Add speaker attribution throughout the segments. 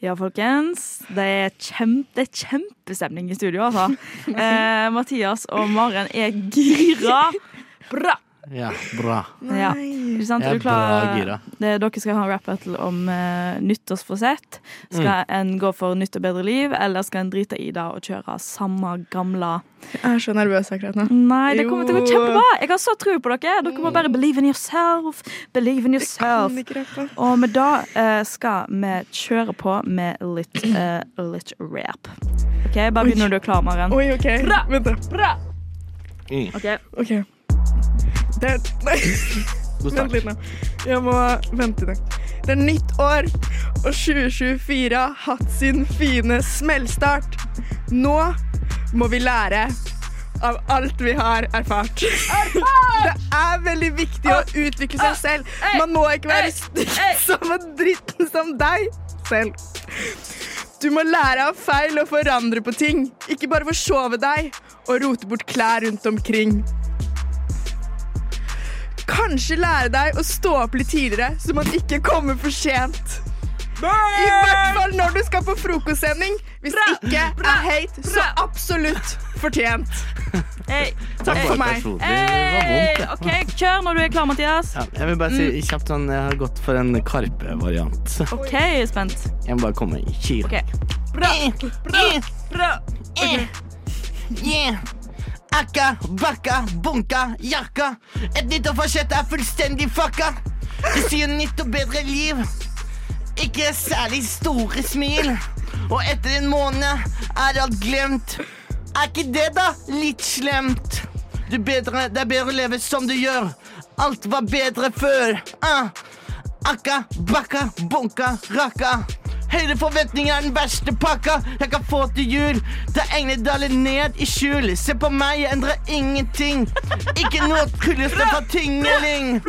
Speaker 1: Ja, folkens. Det er, kjem, det er kjempestemning i studio, altså. Eh, Mathias og Maren er gira. Bra!
Speaker 2: Ja, bra.
Speaker 1: Ja, ikke sant?
Speaker 2: Jeg
Speaker 1: Er
Speaker 2: er
Speaker 1: du klar?
Speaker 2: bra gira.
Speaker 1: Det, dere skal ha en rap-battle om eh, nyttårsforsett.
Speaker 2: Mm.
Speaker 1: Skal en gå for nytt og bedre liv, eller skal en drite i det og kjøre samme gamle
Speaker 3: Jeg er så nervøs akkurat nå.
Speaker 1: Nei, det kommer til å gå
Speaker 3: Jo.
Speaker 1: kjempebra! Jeg har så tro på dere. Dere må bare believe in yourself. Believe in yourself.
Speaker 3: ikke rappe.
Speaker 1: Og med da eh, skal vi kjøre på med litt, eh, litt rap. OK, bare begynn når du er klar, Maren.
Speaker 3: Oi, OK.
Speaker 1: Bra.
Speaker 3: Vent, da.
Speaker 1: Bra!
Speaker 2: Mm.
Speaker 1: OK.
Speaker 3: OK. Det er, nei,
Speaker 2: God
Speaker 3: vent
Speaker 2: start.
Speaker 3: litt nå. Jeg må vente det. Det er nytt år, og 2024 har hatt sin fine smellstart. Nå må vi lære av alt vi har erfart. Det er veldig viktig å utvikle seg selv. Man må ikke være stygg som en dritten som deg selv. Du må lære av feil og forandre på ting. Ikke bare forsove deg og rote bort klær rundt omkring. Kanskje lære deg å stå opp litt tidligere, så man ikke kommer for sent. I hvert fall når du skal på frokostsending. Hvis ikke er hate, så absolutt fortjent.
Speaker 1: Hey.
Speaker 3: Takk
Speaker 2: Det
Speaker 3: for
Speaker 2: var
Speaker 3: meg.
Speaker 2: personlig. Det var
Speaker 1: Hey.
Speaker 2: vondt. det.
Speaker 1: OK, kjør når du er klar, Mathias.
Speaker 2: Ja, jeg vil bare
Speaker 3: Mm.
Speaker 2: si kjapt sånn, jeg har gått for en Karpe-variant.
Speaker 1: OK, jeg er spent.
Speaker 2: Jeg må bare komme i kyr.
Speaker 1: Ok.
Speaker 2: Bra, bra,
Speaker 1: Bra.
Speaker 2: Eh. Yeah. Akka, bakka, bunka, jakka. Et nytt og forsett er fullstendig fucka. Det sier nytt og bedre liv. Ikke særlig store smil. Og etter en måned er alt glemt. Er ikke det, da, litt slemt? Du bedre, det er bedre å leve som du gjør. Alt var bedre før. Ah. Akka, bakka, bunka, rakka. Høyere forventninger er den verste pakka jeg kan få til jul. Det er egne daler ned i skjul. Se på meg, jeg endrer ingenting. Ikke noe kulleste fra tingeling.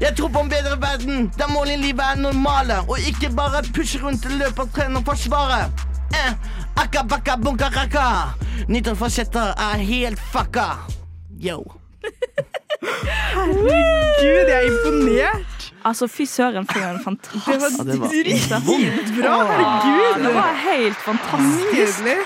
Speaker 2: Jeg tror på en bedre verden, der mål i livet er normale. Og ikke bare pushe rundt, løpe og trene og forsvare. Eh, akka, bakka, bunka, rakka. Nyttårsforsetter er helt fucka. Yo.
Speaker 3: Gud, jeg er imponert.
Speaker 1: Altså, fy søren, for en
Speaker 3: Det var
Speaker 1: fantastisk
Speaker 3: dritbra. Herregud.
Speaker 1: Det var helt fantastisk.
Speaker 3: Nydelig.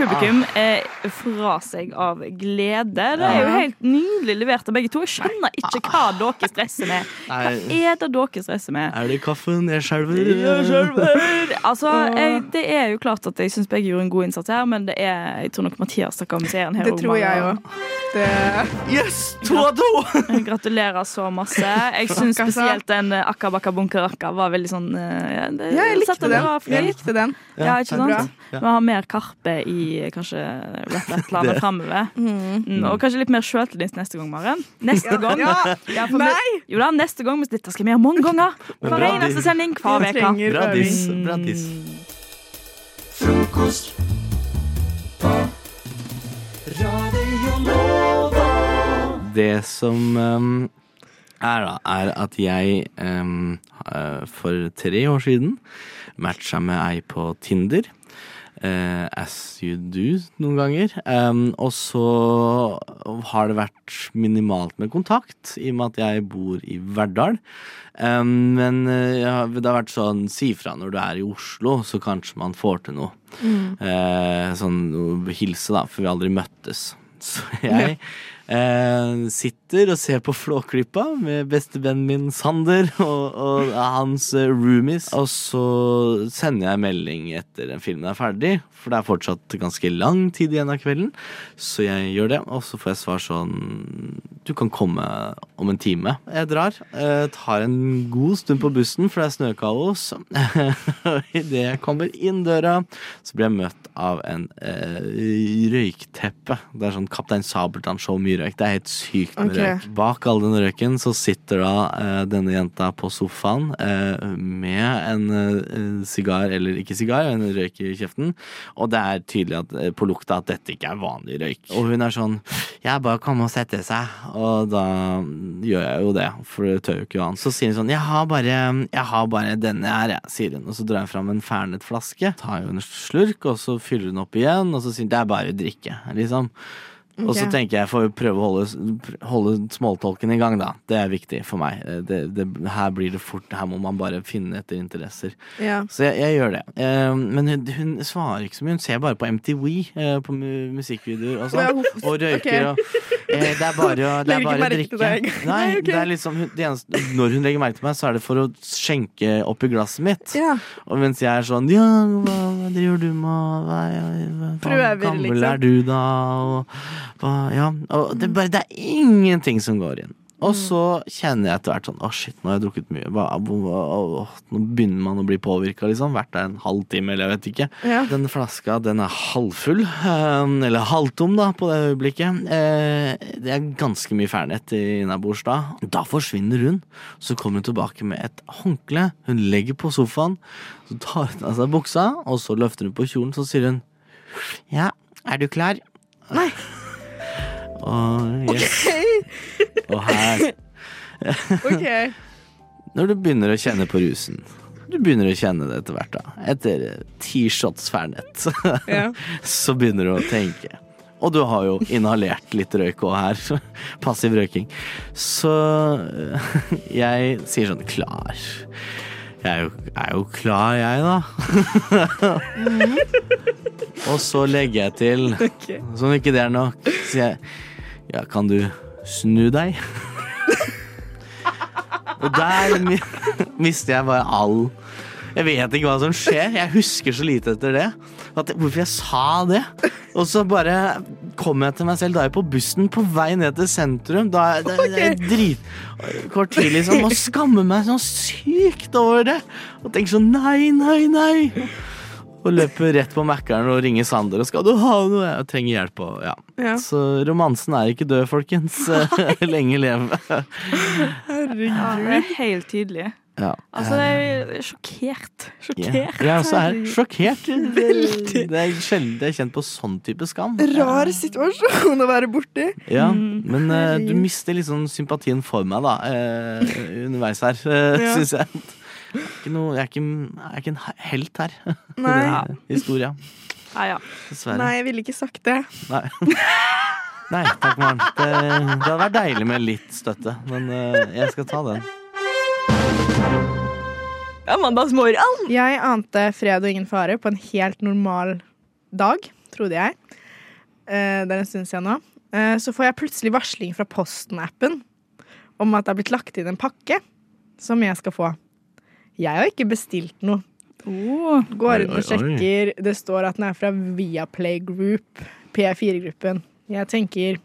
Speaker 1: Publikum er fra seg av glede. Det er jo helt nydelig levert av begge to. Jeg skjønner ikke hva dere stresser med. Hva
Speaker 2: Nei.
Speaker 1: er det dere stresser med?
Speaker 2: Er det kaffen? Jeg skjelver.
Speaker 1: Altså, jeg, Det er jo klart at jeg syns begge gjorde en god innsats her, men det er, jeg tror nok Mathias stakk av med seieren her.
Speaker 3: Det
Speaker 1: og
Speaker 3: tror jeg
Speaker 1: Mara.
Speaker 3: òg. Det
Speaker 2: Yes, to av to!
Speaker 1: Gratulerer så masse. Jeg syns
Speaker 3: Takk, altså.
Speaker 1: spesielt den eh, akka bakka bunka rakka var veldig sånn eh, ja, det-
Speaker 3: Ja, jeg
Speaker 1: satte
Speaker 3: likte
Speaker 1: det
Speaker 3: den.
Speaker 1: bra fri.
Speaker 3: Jeg likte den.
Speaker 1: Ja, ikke
Speaker 3: Bra.
Speaker 1: sant? Vi har mer Karpe i kanskje rap-planen framover. Mm, og kanskje litt mer sjøltillit neste gang, Maren. Neste gang.
Speaker 3: Ja,
Speaker 1: Ja, for vi-
Speaker 3: Nei!
Speaker 1: Jo da, neste gang. men Dette skal vi gjøre mange ganger.
Speaker 2: Men
Speaker 1: Hver
Speaker 2: bra,
Speaker 1: eneste
Speaker 2: de-
Speaker 1: sending, hver
Speaker 3: vi
Speaker 1: uke.
Speaker 3: trenger
Speaker 2: Bra
Speaker 3: øving.
Speaker 2: diss. Bra diss. Det som ehm, er, da, er at jeg ehm, eh, for tre år siden matcha med ei på Tinder. eh, as you do noen ganger. Ehm, og så har det vært minimalt med kontakt, i og med at jeg bor i Verdal. Ehm, men eh, jeg har- det har vært sånn si fra når du er i Oslo, så kanskje man får til noe. Eh, sånn å hilse, da, for vi har aldri møttes. Så jeg eh, sitter og ser på Flåklypa med bestevennen min Sander og, og hans eh, roomies. Og så sender jeg melding etter den filmen er ferdig, for det er fortsatt ganske lang tid igjen av kvelden. Så jeg gjør det, og så får jeg svar sånn Du kan komme om en time. Jeg drar. Eh, tar en god stund på bussen, for det er snøkaos. Og idet jeg kommer inn døra, så blir jeg møtt av en eh, røykteppe. Det er sånn Kaptein Sabeltann-show, mye røyk. Det er helt sykt med
Speaker 3: Ok.
Speaker 2: røyk. Bak all den røyken så sitter da eh, denne jenta på sofaen eh, med en eh, sigar, eller ikke sigar, en røyk i kjeften. Og det er tydelig at, eh, på lukta at dette ikke er vanlig røyk. Og hun er sånn Ja, bare komme og sette seg. Og da mm, gjør jeg jo det, for det tør jo ikke Johan. Så sier hun sånn Jeg har bare, jeg har bare denne her, jeg, sier hun. Og så drar hun fram en Fernet-flaske, tar jo en slurk, og så fyller hun opp igjen, og så sier hun Det er bare å drikke, liksom. Og så
Speaker 3: Ok.
Speaker 2: tenker jeg får prøve å holde, holde smalltalken i gang, da. Det er viktig for meg. Eh, Det, det, her blir det fort, her må man bare finne etter interesser.
Speaker 3: Ja.
Speaker 2: Så jeg, jeg gjør det. Eh, men hun, hun svarer ikke så mye. Hun ser bare på MTV eh, på mu musikkvideoer og sånn.
Speaker 3: Ja,
Speaker 2: Og røyker
Speaker 3: ok.
Speaker 2: og eh, Det er bare å, det
Speaker 3: Legger ikke
Speaker 2: er bare å
Speaker 3: merke til
Speaker 2: drikke.
Speaker 3: deg engang.
Speaker 2: Nei,
Speaker 3: Nei, ok.
Speaker 2: det er liksom, hun- det eneste, når hun legger merke til meg, så er det for å skjenke oppi glasset mitt.
Speaker 3: Ja.
Speaker 2: Og mens jeg er sånn Ja, hva, hva driver du med? Hva, hva, hva
Speaker 3: Prøver,
Speaker 2: gammel
Speaker 3: liksom.
Speaker 2: er du, da? Og, hva, ja. og det, er bare, det er ingenting som går inn. Og så kjenner jeg etter hvert sånn Å, shit, nå har jeg drukket mye. Hva, hva, hva- å, nå begynner man å bli påvirka, liksom. Vært der en halvtime, eller jeg vet ikke.
Speaker 3: Ja.
Speaker 2: Den flaska den er halvfull, eh, eller halvtom da, på det øyeblikket. Eh, Det er ganske mye fernet innabords da. Da forsvinner hun. Så kommer hun tilbake med et håndkle. Hun legger på sofaen, så tar hun av seg buksa, og så løfter hun på kjolen, så sier hun Ja, er du klar?
Speaker 3: Nei.
Speaker 2: Og, yes. og her
Speaker 3: OK.
Speaker 2: når du begynner å kjenne på rusen. Du begynner å kjenne det etter hvert, da. Etter eh, ti shots fernet.
Speaker 3: Ja.
Speaker 2: Så begynner du å tenke. Og du har jo inhalert litt røyk òg her. Passiv røyking. Så eh, jeg sier sånn klar. Jeg er jo, er jo klar, jeg, da. Og så legger jeg til
Speaker 3: ok.
Speaker 2: som om ikke det er nok, sier jeg Ja, kan du snu deg? Og der mi- mister jeg bare all Jeg vet ikke hva som skjer. Jeg husker så lite etter det. At, jeg- hvorfor jeg sa det. Og så bare kom jeg til meg selv. Da er jeg på bussen på vei ned til sentrum. Da er det, det er dritkort tid, liksom. Og skammer meg så sykt over det. Og tenker sånn nei, nei, nei. Og løper rett på Mækkern og ringer Sander og skal du ha noe? Jeg trenger hjelp. Og, ja.
Speaker 3: Ja.
Speaker 2: Så romansen er ikke død, folkens. Lenge leve.
Speaker 3: Herregud.
Speaker 1: Ja, det er helt tydelig.
Speaker 2: Ja.
Speaker 1: Altså, jeg er sjokkert.
Speaker 2: Eh, Ja.
Speaker 1: Sjokkert.
Speaker 2: Jeg også er sjokkert. Det, det er sjelden jeg er kjent på sånn type skam.
Speaker 3: Rar situasjon å være borti.
Speaker 2: Ja, men eh, du mister liksom sympatien for meg, da, eh, underveis her, uh,
Speaker 3: Ja.
Speaker 2: syns jeg. Det er Ikke noe, jeg, er ikke, jeg er ikke en helt her.
Speaker 3: Nei.
Speaker 1: Ja.
Speaker 2: Historia.
Speaker 1: Ja, ja.
Speaker 2: Dessverre.
Speaker 3: Nei, jeg ville ikke sagt det.
Speaker 2: Nei. Nei, takk, Maren. Det, det hadde vært deilig med litt støtte, men eh, jeg skal ta den.
Speaker 1: Mandagsmorgen!
Speaker 3: Jeg ante fred og ingen fare på en helt normal dag, trodde jeg. Eh, Det er en stund siden nå. Eh, Så får jeg plutselig varsling fra Posten-appen om at det er blitt lagt inn en pakke som jeg skal få. Jeg har ikke bestilt noe.
Speaker 1: Oh.
Speaker 3: Går inn
Speaker 2: Oi,
Speaker 3: og
Speaker 2: oi, oi.
Speaker 3: sjekker. Det står at den er fra Viaplay Group, P4-gruppen. Jeg tenker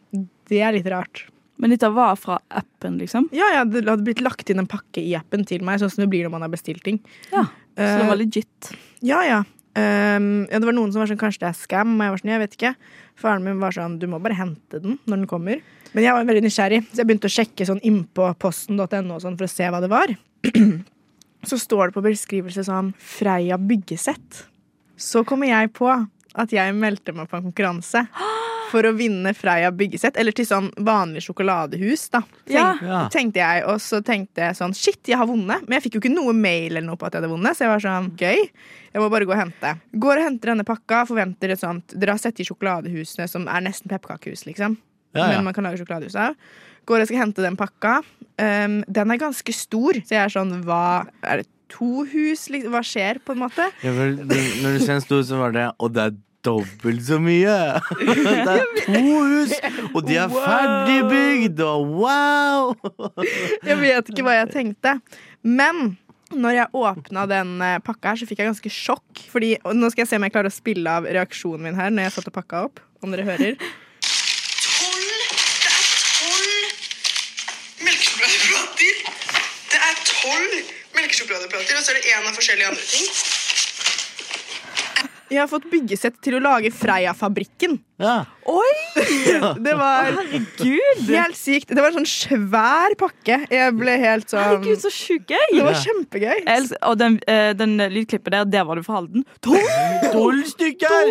Speaker 3: det er litt rart.
Speaker 1: Men dette var fra appen, liksom?
Speaker 3: Ja, ja, det hadde blitt lagt inn en pakke i appen til meg, sånn som det blir når man har bestilt ting.
Speaker 1: Ja. Så det
Speaker 3: Eh,
Speaker 1: var legit.
Speaker 3: Ja, ja. Ehm, ja. Det var noen som var sånn Kanskje det er scam? Og jeg var sånn, jeg vet ikke. Faren min var sånn Du må bare hente den når den kommer. Men jeg var veldig nysgjerrig, så jeg begynte å sjekke sånn innpå posten.no og sånn for å se hva det var. Så står det på beskrivelse sånn Freia byggesett. Så kommer jeg på at jeg meldte meg på en konkurranse for å vinne Freia byggesett. Eller til sånn vanlig sjokoladehus, da.
Speaker 1: Ja.
Speaker 2: Ja.
Speaker 3: tenkte jeg, og så tenkte jeg sånn Shit, jeg har vunnet. Men jeg fikk jo ikke noe mail eller noe på at jeg hadde vunnet, så jeg var sånn Gøy. Jeg må bare gå og hente. Går og henter denne pakka, forventer et sånt Dere har sett de sjokoladehusene som er nesten pepperkakehus, liksom.
Speaker 2: Ja, ja.
Speaker 3: Men man kan lage sjokoladehus av. Går og skal hente den pakka. Um, den er ganske stor, så jeg er sånn Hva Er det to hus? Liksom? Hva skjer, på en måte?
Speaker 2: Ja, vel, du- når du ser en stor, så var det Og det er dobbelt så mye! Det er to hus, og de er
Speaker 3: Wow.
Speaker 2: ferdigbygd, og wow!
Speaker 3: Jeg vet ikke hva jeg tenkte. Men når jeg åpna den eh, pakka her, så fikk jeg ganske sjokk. Fordi, og nå skal jeg se om jeg klarer å spille av reaksjonen min her når jeg satte pakka opp. Om dere hører.
Speaker 4: tolv Det er tolv melkesjokoladeplater! Det er tolv melkesjokoladeplater, og så er det én av forskjellige andre ting.
Speaker 3: Jeg har fått byggesett til å lage Freia-fabrikken.
Speaker 2: Ja.
Speaker 1: Oi!
Speaker 3: Det var
Speaker 1: Herregud!
Speaker 3: helt sykt. Det var en sånn svær pakke. Jeg ble helt sånn
Speaker 1: Herregud, så sjuk jeg
Speaker 3: Det
Speaker 1: er!
Speaker 3: var kjempegøy.
Speaker 1: Jeg elsker- Og den, eh, den lydklippet der, der var du fra Halden. Tolv
Speaker 2: Tolv stykker!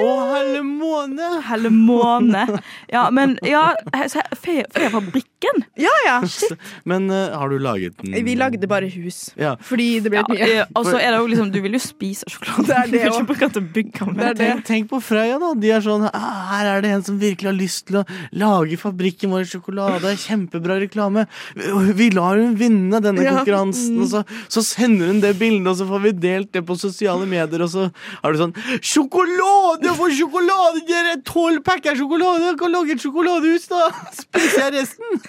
Speaker 2: Å, hele måne!
Speaker 1: hele måned! Ja, men ja, he- så he- fe- Fefabrikken musikken.
Speaker 3: Ja, ja.
Speaker 2: Men eh, har du laget den?
Speaker 3: Vi lagde bare hus.
Speaker 2: Ja.
Speaker 3: Fordi det ble
Speaker 1: Ja,
Speaker 3: litt mye.
Speaker 1: eh, og så er det jo liksom, du vil jo spise sjokoladen.
Speaker 3: Det er det
Speaker 1: du vil
Speaker 3: også.
Speaker 1: ikke bruke den til å bygge med.
Speaker 3: Det er det.
Speaker 2: Tenk, tenk på Freia, da. De er sånn «Ah, Her er det en som virkelig har lyst til å lage fabrikken vår sjokolade. Kjempebra reklame. Vi lar hun vinne denne
Speaker 3: Ja.
Speaker 2: konkurransen. Og så, så sender hun det bildet, og så får vi delt det på sosiale medier, og så har du sånn Sjokolade for sjokolade! Dere tolv pakker sjokolade! Dere kan lage et sjokoladehus, da! Spiser jeg resten?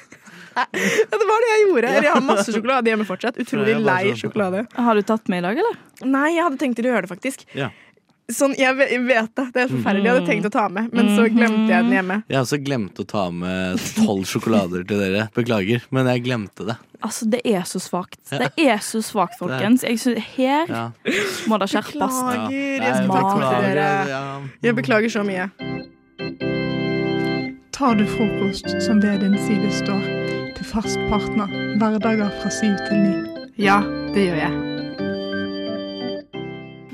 Speaker 3: Ja, det var det jeg gjorde. Jeg har masse sjokolade hjemme fortsatt. Utrolig
Speaker 2: Ja, jeg bare
Speaker 3: lei
Speaker 2: sånn.
Speaker 3: sjokolade.
Speaker 1: Har du tatt med i dag, eller?
Speaker 3: Nei, jeg hadde tenkt til å gjøre det, faktisk.
Speaker 2: Ja.
Speaker 3: Sånn, jeg ve- jeg vet det. Det er forferdelig. Jeg hadde tenkt å ta med, men så
Speaker 2: Mm.
Speaker 3: glemte jeg den hjemme.
Speaker 2: Jeg har også glemt å ta med tolv sjokolader til dere. Beklager, men jeg glemte det.
Speaker 1: Altså, det er så svakt. Det er så svakt, folkens. Jeg synes, her
Speaker 2: Ja.
Speaker 1: må det skjerpes.
Speaker 3: Beklager.
Speaker 2: Nei,
Speaker 3: Jeg skal takke
Speaker 2: beklager,
Speaker 3: til dere.
Speaker 2: ja.
Speaker 3: Jeg beklager så mye.
Speaker 5: Tar du frokost som ved din side står, til fast partner, hverdager fra syv til ni.
Speaker 6: Ja, det gjør jeg.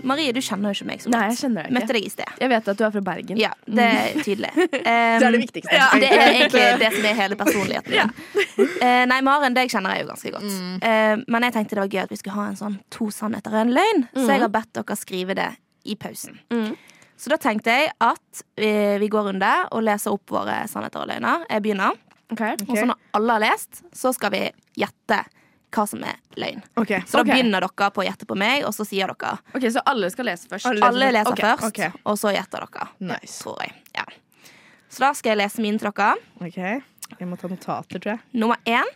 Speaker 7: Marie, du kjenner jo ikke meg så
Speaker 8: Nei, jeg
Speaker 7: godt.
Speaker 8: kjenner deg ikke. mm.
Speaker 7: Møtte deg i sted.
Speaker 8: Jeg vet at du er fra Bergen.
Speaker 7: Ja, det er tydelig. Um,
Speaker 3: Det er det viktigste.
Speaker 7: Ja, det er egentlig det som er hele personligheten min. Eh, nei, Maren deg kjenner jeg jo ganske godt.
Speaker 8: Mm.
Speaker 7: Eh, men jeg tenkte det var gøy at vi skulle ha en sånn to sannheter og en løgn, så jeg har bedt dere skrive det i pausen.
Speaker 8: Mm.
Speaker 7: Så da tenkte jeg at eh, vi går runde og leser opp våre sannheter og løgner. Jeg begynner. Og så når alle har lest, så skal vi gjette hva som er løgn.
Speaker 3: Ok.
Speaker 7: Så
Speaker 8: Ok.
Speaker 7: da begynner dere på å gjette på meg, og så sier dere
Speaker 8: Ok, Så alle skal lese først.
Speaker 3: Alle-
Speaker 7: Alle leser
Speaker 3: Ok,
Speaker 7: først,
Speaker 3: ok.
Speaker 7: og så gjetter dere.
Speaker 3: Nice.
Speaker 7: Tror jeg. Ja. Så da skal jeg lese mine til dere.
Speaker 3: Ok. Jeg må ta notater, tror jeg.
Speaker 7: Nummer én.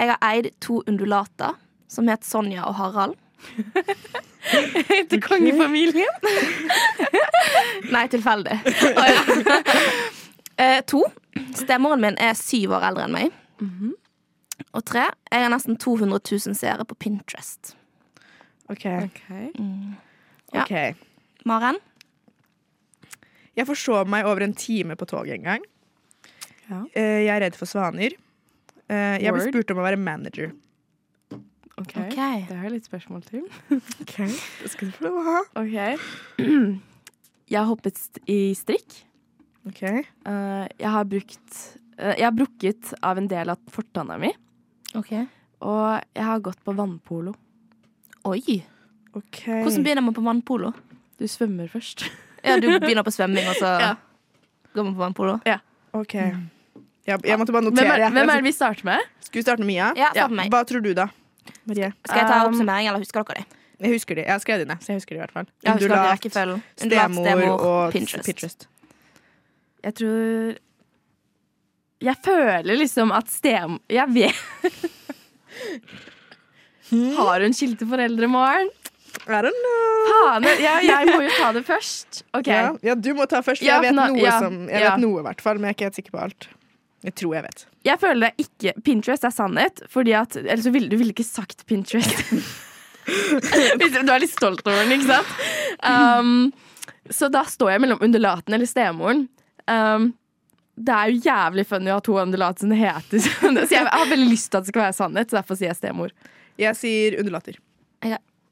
Speaker 7: Jeg har eid to undulater som het Sonja og Harald.
Speaker 8: Til kongefamilien.
Speaker 7: Nei, tilfeldig. Eh, to. Stemmoren min er syv år eldre enn meg. Og tre. Jeg har nesten 200 000 seere på Pinterest.
Speaker 3: Ok.
Speaker 7: Ja.
Speaker 3: Ok.
Speaker 7: Maren?
Speaker 3: Jeg forsov meg over en time på toget en gang.
Speaker 8: Ja.
Speaker 3: Eh, Jeg er redd for svaner. Eh, Jeg ble
Speaker 8: Word.
Speaker 3: spurt om å være manager.
Speaker 7: Ok.
Speaker 8: Det har jeg litt spørsmål til.
Speaker 3: Det skal du få lov å ha.
Speaker 8: Ok. Jeg har hoppet st i strikk.
Speaker 3: Ok.
Speaker 8: Eh, jeg har brukt eh, Jeg har brukket av en del av fortanna mi. Og jeg har gått på vannpolo.
Speaker 7: Oi.
Speaker 3: Ok.
Speaker 7: Hvordan begynner man på vannpolo?
Speaker 8: Du svømmer først.
Speaker 7: Ja, du begynner på svømming, og så
Speaker 8: Ja.
Speaker 7: går man på vannpolo?
Speaker 3: Ok. Jeg, jeg måtte bare
Speaker 8: Hvem er,
Speaker 3: notere.
Speaker 8: hvem er det vi starter med?
Speaker 3: Skal vi starte med Mia?
Speaker 7: Ja, start med meg.
Speaker 3: Hva tror du, da? Marie?
Speaker 7: Skal jeg ta
Speaker 8: Um,
Speaker 7: oppsummering, eller husker dere det?
Speaker 3: Jeg husker de. Jeg har skrevet de ned, så jeg husker de i hvert fall.
Speaker 7: Jeg husker dere
Speaker 3: Undulat,
Speaker 7: rekkefølgen. Undulat,
Speaker 3: stemor og
Speaker 7: Pinterest.
Speaker 8: Jeg tror Jeg føler liksom at stem... Jeg vet Har hun skilte foreldre, Maren?
Speaker 3: I don't know.
Speaker 8: Faen, jeg, jeg må jo ta det først. OK.
Speaker 3: Ja, ja, du må ta først, for
Speaker 8: Ja,
Speaker 3: jeg vet
Speaker 8: nå-
Speaker 3: noe,
Speaker 8: ja,
Speaker 3: som, jeg
Speaker 8: ja.
Speaker 3: vet noe i hvert fall, men jeg er ikke helt sikker på alt. Jeg tror jeg vet.
Speaker 8: Jeg føler det er ikke Pinterest er sannhet, fordi at Ellers så ville du ville ikke sagt Pinterest. Hvis du er litt stolt over den, ikke sant? Um, så da står jeg mellom undulaten eller stemoren. Um, det er jo jævlig funny å ha to undulater som det heter. Så jeg har veldig lyst til at det skal være sannhet, så derfor sier jeg stemor.
Speaker 3: Jeg sier undulater.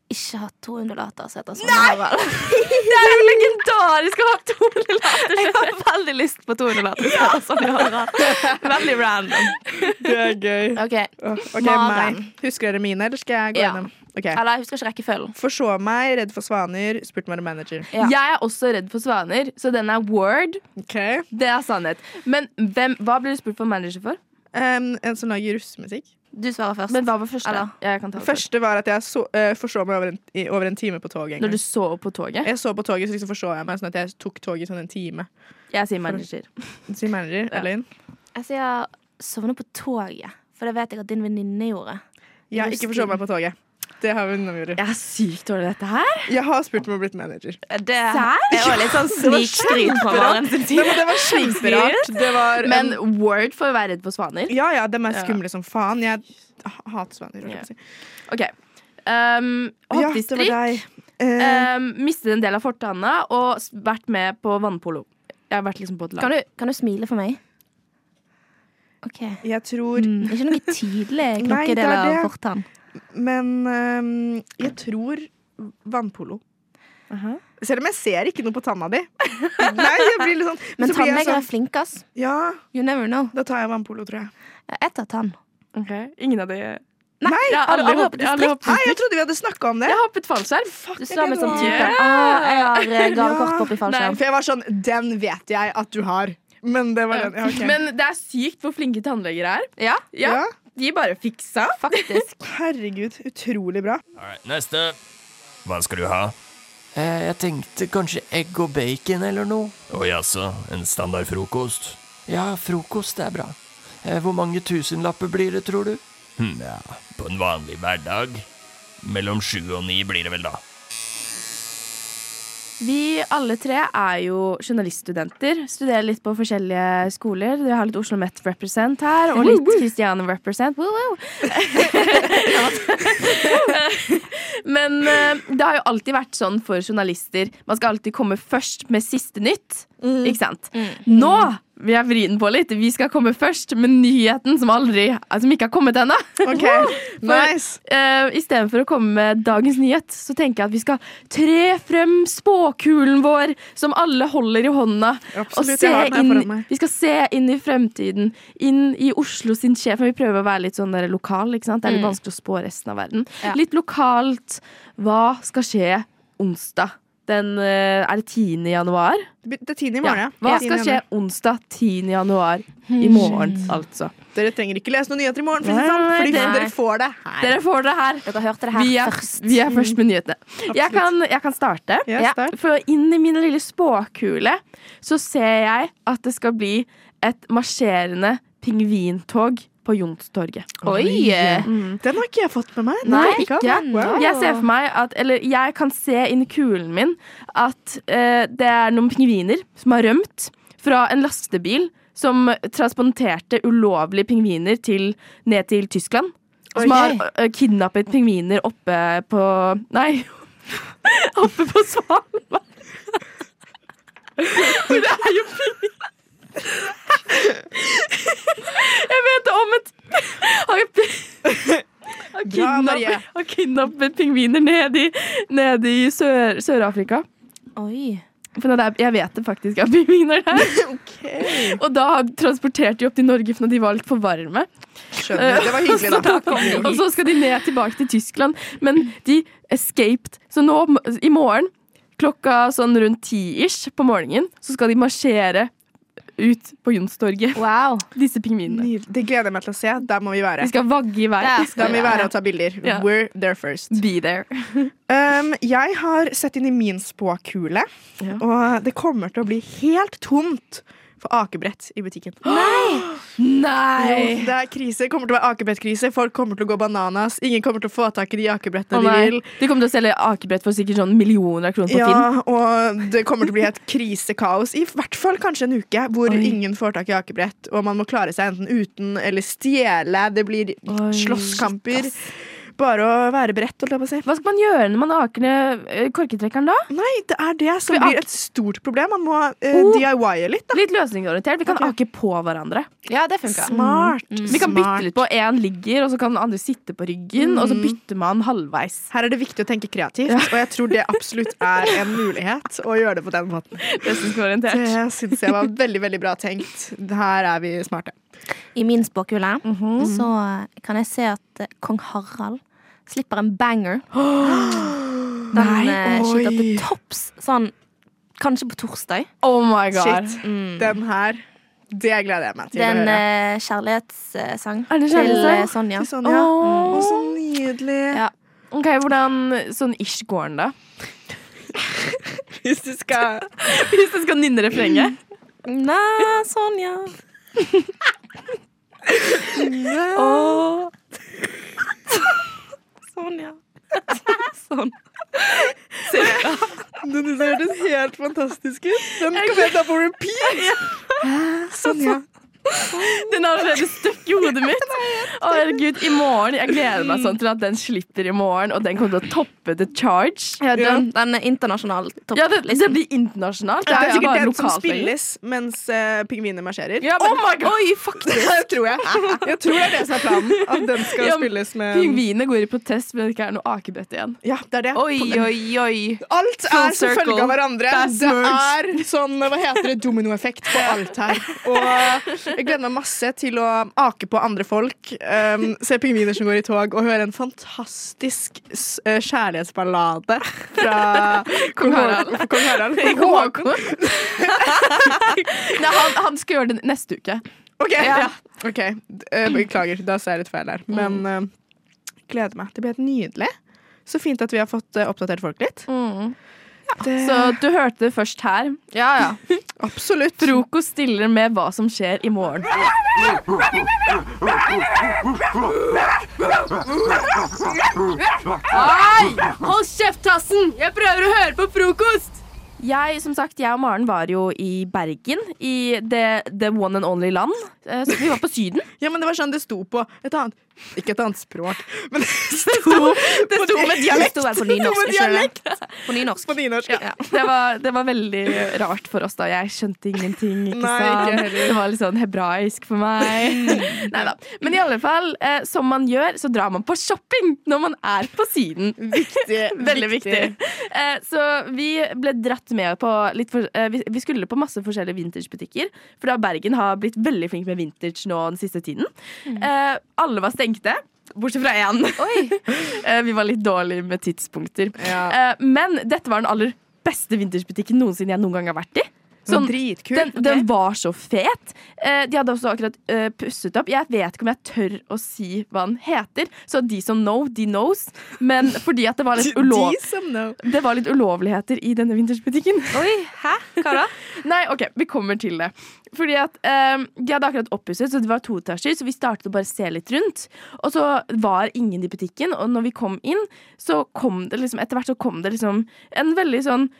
Speaker 7: Ikke hatt to undulater som heter Sonja.
Speaker 8: Det er jo legendarisk å ha to undulater!
Speaker 7: Jeg har veldig lyst på to undulater som heter Sonja. Veldig random.
Speaker 3: Det er gøy.
Speaker 7: Ok,
Speaker 3: Ok,
Speaker 7: Maren.
Speaker 3: meg. Husker dere mine, eller skal jeg gå
Speaker 7: Ja.
Speaker 3: gjennom? Ok.
Speaker 7: Eller jeg husker ikke rekkefølgen.
Speaker 3: Forså meg, redd for svaner, spurte meg om manager.
Speaker 7: Ja.
Speaker 8: Jeg er også redd for svaner, så den er word.
Speaker 3: Ok.
Speaker 8: Det er sannhet. Men hvem, hva ble du spurt for manager for?
Speaker 3: Em, en som lager russemusikk.
Speaker 7: Du svarer først.
Speaker 8: Men hva var første?
Speaker 7: Eller?
Speaker 8: Jeg kan ta det
Speaker 3: Første var at jeg så, eh, forså meg over en, i, over en time på toget. en
Speaker 8: Når
Speaker 3: gang.
Speaker 8: du så på toget?
Speaker 3: Jeg så på toget, så liksom forså jeg meg, sånn at jeg tok toget sånn en time.
Speaker 8: Jeg sier manager.
Speaker 3: Sier manager,
Speaker 8: Ja.
Speaker 3: Elaine.
Speaker 7: Jeg sier sovne på toget, for det vet jeg at din venninne gjorde.
Speaker 3: Jeg har ikke forså meg på toget. Det har vi unnagjort.
Speaker 8: Jeg er sykt dårlig i dette her.
Speaker 3: Jeg har spurt om å bli manager.
Speaker 7: Eh, Det er jo litt sånn snikskryt fra Maren
Speaker 3: Nei,
Speaker 7: sin side.
Speaker 3: men det var kjemperart. Det var
Speaker 8: Men
Speaker 3: en,
Speaker 8: word for å være redd for svaner.
Speaker 3: Ja, ja, de er
Speaker 8: Ja.
Speaker 3: skumle som faen. Jeg ha- hater svaner. holdt jeg
Speaker 8: Ja.
Speaker 3: på å si.
Speaker 8: Ok um,
Speaker 3: Ja, det
Speaker 8: Hoppet i
Speaker 3: var
Speaker 8: strikk,
Speaker 3: deg. Eh,
Speaker 8: um, mistet en del av fortanna og s- vært med på vannpolo. Jeg har vært liksom på et lag.
Speaker 7: Kan du, kan du smile for meg? OK.
Speaker 3: jeg tror
Speaker 7: Mm, Ikke noe tydelig
Speaker 3: Nei, det er
Speaker 7: knokkedel av
Speaker 3: det.
Speaker 7: fortann.
Speaker 3: Men ehm, jeg tror vannpolo. Selv om jeg ser ikke noe på tanna di. Nei, jeg blir litt sånn
Speaker 7: Men
Speaker 3: så blir jeg
Speaker 7: tannleger er
Speaker 3: sånn,
Speaker 7: flinke, ass.
Speaker 3: Ja,
Speaker 7: You never know.
Speaker 3: da tar jeg vannpolo, tror jeg.
Speaker 7: Jeg tar tann.
Speaker 8: Ok, Ingen av de
Speaker 7: Nei,
Speaker 8: Jeg har
Speaker 7: alle
Speaker 8: aldri
Speaker 7: går på
Speaker 8: hoppet- jeg har aldri
Speaker 7: distrikt.
Speaker 8: hoppet
Speaker 3: Nei, jeg trodde vi hadde snakka om det.
Speaker 8: Jeg har hoppet fallskjerm.
Speaker 7: Du står med sånn type
Speaker 8: Yeah!
Speaker 7: ah, Jeg har eh, gavekort
Speaker 3: Ja.
Speaker 7: oppi fallskjerm.
Speaker 3: For jeg var sånn Den vet jeg at du har. Men det var den. Ja, ok.
Speaker 8: Men det er sykt hvor flinke tannleger er.
Speaker 7: Ja,
Speaker 8: Ja,
Speaker 3: Ja.
Speaker 8: De bare fiksa.
Speaker 7: faktisk.
Speaker 3: Herregud, utrolig bra.
Speaker 9: Neste. Hva skal du ha?
Speaker 10: Eh, Jeg tenkte kanskje egg og bacon eller noe.
Speaker 9: Å jaså, en standard frokost?
Speaker 10: Ja, frokost er bra. Eh, Hvor mange tusenlapper blir det, tror du?
Speaker 9: Hm, ja, på en vanlig hverdag. Mellom sju og ni blir det vel, da.
Speaker 8: Vi alle tre er jo journaliststudenter. Studerer litt på forskjellige skoler. Vi har litt Oslo Met Represent her, og litt Christiane Represent. Woo, woo. Men eh, det har jo alltid vært sånn for journalister. Man skal alltid komme først med siste nytt. Ikke sant? Nå vil jeg vri den på litt. Vi skal komme først med nyheten som, aldri, som ikke har kommet ennå.
Speaker 3: Ok, nice
Speaker 8: Uh, Istedenfor å komme med dagens nyhet, så tenker jeg at vi skal tre frem spåkulen vår, som alle holder i hånda.
Speaker 3: Absolutt, jeg har den her
Speaker 8: inn,
Speaker 3: foran meg.
Speaker 8: vi skal se inn i fremtiden, inn i Oslo sin sjef. Men vi prøver å være litt sånn der lokal. ikke sant? Det
Speaker 3: Mm.
Speaker 8: er litt vanskelig å spå resten av verden.
Speaker 7: Ja.
Speaker 8: Litt lokalt. Hva skal skje onsdag? Den, eh, er det 10. januar?
Speaker 3: Det er tiende i morgen. ja.
Speaker 8: Hva
Speaker 3: Tiende i
Speaker 8: skal skje
Speaker 3: januar. Hmm.
Speaker 8: onsdag 10. januar? I morgen, altså.
Speaker 3: Dere trenger ikke lese noen nyheter i morgen, for, å si det
Speaker 8: Nei,
Speaker 3: sånn,
Speaker 8: nei,
Speaker 3: fordi
Speaker 8: nei.
Speaker 3: dere får det her.
Speaker 8: Dere får det her.
Speaker 7: Dere hørte det her
Speaker 8: Vi er,
Speaker 7: først.
Speaker 8: vi er først med nyhetene. Jeg kan, jeg kan starte.
Speaker 3: Ja,
Speaker 7: Ja.
Speaker 3: start.
Speaker 8: For inn i min lille spåkule så ser jeg at det skal bli et marsjerende pingvintog på Youngstorget.
Speaker 7: Oi!
Speaker 3: Den har ikke jeg fått med meg. Den
Speaker 8: Mm. Nei,
Speaker 3: har jeg
Speaker 8: ikke.
Speaker 3: hatt. Wow.
Speaker 8: Jeg ser for meg at, eller jeg kan se inn i kulen min at eh, det er noen pingviner som har rømt fra en lastebil som transporterte ulovlige pingviner til, ned til Tyskland. Som har
Speaker 7: Oi.
Speaker 8: eh, kidnappet pingviner oppe på Nei, oppe på Svalbard. For det er jo pingvin... Jeg vet om et Har jo pingvin
Speaker 3: Bra, Marie.
Speaker 8: kidnappet, har kidnappet pingviner nede i, nede i Sør- Sør-Afrika.
Speaker 7: Oi.
Speaker 8: for det er, jeg vet det faktisk er pingviner der. Og da har- transporterte de opp til Norge for når de var litt for varme.
Speaker 3: Skjønner. Det var hyggelig, da.
Speaker 8: Og Eh, så skal de ned tilbake til Tyskland. Men de escaped. Så nå om- i morgen klokka sånn rundt ti-ish på morgenen så skal de marsjere ut på Youngstorget,
Speaker 7: Wow.
Speaker 8: disse pingvinene.
Speaker 3: Nydelig. Det gleder jeg meg til å se. Der må vi
Speaker 8: De
Speaker 3: være.
Speaker 8: skal vagge i vei.
Speaker 7: Der
Speaker 3: Der
Speaker 7: skal
Speaker 3: må vi være og ta bilder.
Speaker 8: Ja.
Speaker 3: We're there first.
Speaker 8: Be there.
Speaker 3: Um, jeg har sett inn i min spåkule,
Speaker 8: Ja.
Speaker 3: og det kommer til å bli helt tomt for akebrett i butikken.
Speaker 8: Nei!
Speaker 3: Det er krise. Det kommer til å være akebrettkrise. Folk kommer til å gå bananas. Ingen kommer til å få tak i de akebrettene
Speaker 8: Å
Speaker 3: de
Speaker 8: nei.
Speaker 3: vil.
Speaker 8: De kommer til å selge akebrett for sikkert sånn millioner av kroner på Finn.
Speaker 3: Ja, og det kommer til å bli helt krisekaos. I hvert fall kanskje en uke hvor
Speaker 8: Oi.
Speaker 3: ingen får tak i akebrett, og man må klare seg enten uten eller stjele. Det blir
Speaker 8: Oi,
Speaker 3: slåsskamper. Bare å være beredt, holdt jeg på å si.
Speaker 8: Hva skal man gjøre når man aker ned eh, korketrekkeren da?
Speaker 3: Nei, det er det som
Speaker 8: Vi ak-
Speaker 3: blir et stort problem. Man må eh,
Speaker 8: Oh.
Speaker 3: DIY-e litt, da.
Speaker 8: Litt løsningsorientert. Vi kan ake på hverandre.
Speaker 7: Ja, det funka.
Speaker 3: Smart.
Speaker 8: Mm. Vi kan
Speaker 3: Mm.
Speaker 8: bytte
Speaker 3: Smart. Mm.
Speaker 8: litt på. Én ligger, og så kan den andre sitte på ryggen. Og så bytter man halvveis.
Speaker 3: Her er det viktig å tenke kreativt, og jeg tror det absolutt er en mulighet å gjøre det på den måten.
Speaker 8: Løsningsorientert.
Speaker 3: Det syns jeg var veldig veldig bra tenkt. Her er vi smarte.
Speaker 7: I min spåkule så eh, kan jeg se at eh, kong Harald slipper en banger. Den
Speaker 3: Nei,
Speaker 7: eh, skyter
Speaker 3: oi.
Speaker 7: til topps sånn kanskje på torsdag.
Speaker 8: Oh my god.
Speaker 3: Shit. Den her, det gleder jeg meg til
Speaker 7: Det er
Speaker 3: å
Speaker 7: en
Speaker 3: høre.
Speaker 7: eh, kjærligighetssang
Speaker 8: Er det en
Speaker 7: til
Speaker 8: kjærlighetssang?
Speaker 7: eh, Sonja.
Speaker 3: Til Sonja. Å,
Speaker 8: Åh.
Speaker 3: så nydelig.
Speaker 8: Ja. Ok, Hvordan sånn ish går den, da?
Speaker 3: Hvis du skal
Speaker 8: Hvis du skal nynne refrenget?
Speaker 7: Nei, Sonja.
Speaker 8: Åh.
Speaker 7: Sonja. sånn.
Speaker 3: Den hørtes helt fantastisk ut. Den kan jeg ta på repeat. Hæ? Sonja.
Speaker 8: Den har allerede støkk i hodet mitt. Å, herregud, i morgen. Jeg gleder
Speaker 3: Mm.
Speaker 8: meg sånn til at den slipper i morgen, og den kommer til å toppe The Charge.
Speaker 7: Ja, den, den er internasjonal. topp,
Speaker 8: Ja, det, det blir internasjonalt.
Speaker 3: Det er
Speaker 8: ikke
Speaker 3: sikkert
Speaker 8: bare
Speaker 3: den som
Speaker 8: lokalt lenger.
Speaker 3: spilles Oh mens eh, pingviner marsjerer.
Speaker 8: Ja, men-
Speaker 3: Oi, faktisk! det tror jeg. Jeg tror det er det som er planen. At den skal
Speaker 8: Ja,
Speaker 3: spilles med
Speaker 8: Pingvinene går i protest fordi det ikke er noe akebøtte igjen.
Speaker 3: Ja, det er det.
Speaker 8: Oi, oi, oi.
Speaker 3: Alt er som
Speaker 8: circle.
Speaker 3: følge av hverandre.
Speaker 8: Det er
Speaker 3: Det er
Speaker 8: merged.
Speaker 3: sånn, hva heter det, dominoeffekt på alt her. Og jeg gleder meg masse til å ake på andre folk, ehm, se pingviner som går i tog, og høre en fantastisk s- eh, kjærlighetsballade fra kong Harald. Kong Harald. Kong Håkon.
Speaker 8: Nei, han, han skal gjøre det neste uke.
Speaker 3: Ok,
Speaker 8: Ja.
Speaker 3: Ok, eh, beklager, da sa jeg litt feil her. Men eh, gleder meg. Det ble helt nydelig. Så fint at vi har fått eh, oppdatert folk litt. Det,
Speaker 8: Mm. Så du hørte det først her. Ja, ja.
Speaker 3: absolutt.
Speaker 8: Frokost stiller med hva som skjer i morgen. Hei! Hold kjeft, Tassen! Jeg prøver å høre på frokost! Jeg, som sagt, jeg og Maren var jo i Bergen, i the, the one and only land. Eh, Så vi var på Syden.
Speaker 3: Ja, men det var sånn det sto på et annet Ikke et annet språk, men det sto,
Speaker 8: Det sto med dialekt.
Speaker 7: sto vel på nynorsk.
Speaker 3: Med
Speaker 7: ikke det?
Speaker 3: dialekt
Speaker 7: På nynorsk.
Speaker 3: på nynorsk. Ja.
Speaker 8: Det var, det var veldig rart for oss, da. Jeg skjønte ingenting. Ikke
Speaker 3: Nei, ikke
Speaker 8: sant?
Speaker 3: heller.
Speaker 8: det var litt sånn hebraisk for meg. Neida. Men i alle fall, eh, som man gjør, så drar man på shopping når man er på Syden.
Speaker 3: Viktig.
Speaker 8: Veldig viktig. Eh, så vi ble dratt med på litt for, eh, vi- Vi skulle på masse forskjellige vintagebutikker. For da Bergen har blitt veldig flink med vintage nå den siste tiden. Eh, alle var stengte. Bortsett fra én. Eh, vi var litt dårlige med tidspunkter.
Speaker 3: Ja.
Speaker 8: Eh, men dette var den aller beste vintagebutikken noensinne jeg noen gang har vært i.
Speaker 3: Sånn
Speaker 8: Sånn-
Speaker 3: dritkul.
Speaker 8: den, den var så fet. Eh, de hadde også akkurat eh, pusset opp. Jeg vet ikke om jeg tør å si hva den heter, så de som know, de knows. Men fordi at det var litt, ulov
Speaker 3: De som know.
Speaker 8: det var litt ulovligheter i denne vintersbutikken.
Speaker 7: Oi, hæ? Hva da?
Speaker 8: Nei, ok, vi kommer til det. Fordi at eh, De hadde akkurat oppusset, så det var to etasjer, så vi startet å bare se litt rundt. Og så var ingen i butikken, og når vi kom inn, så kom det liksom Etter hvert så kom det liksom en veldig sånn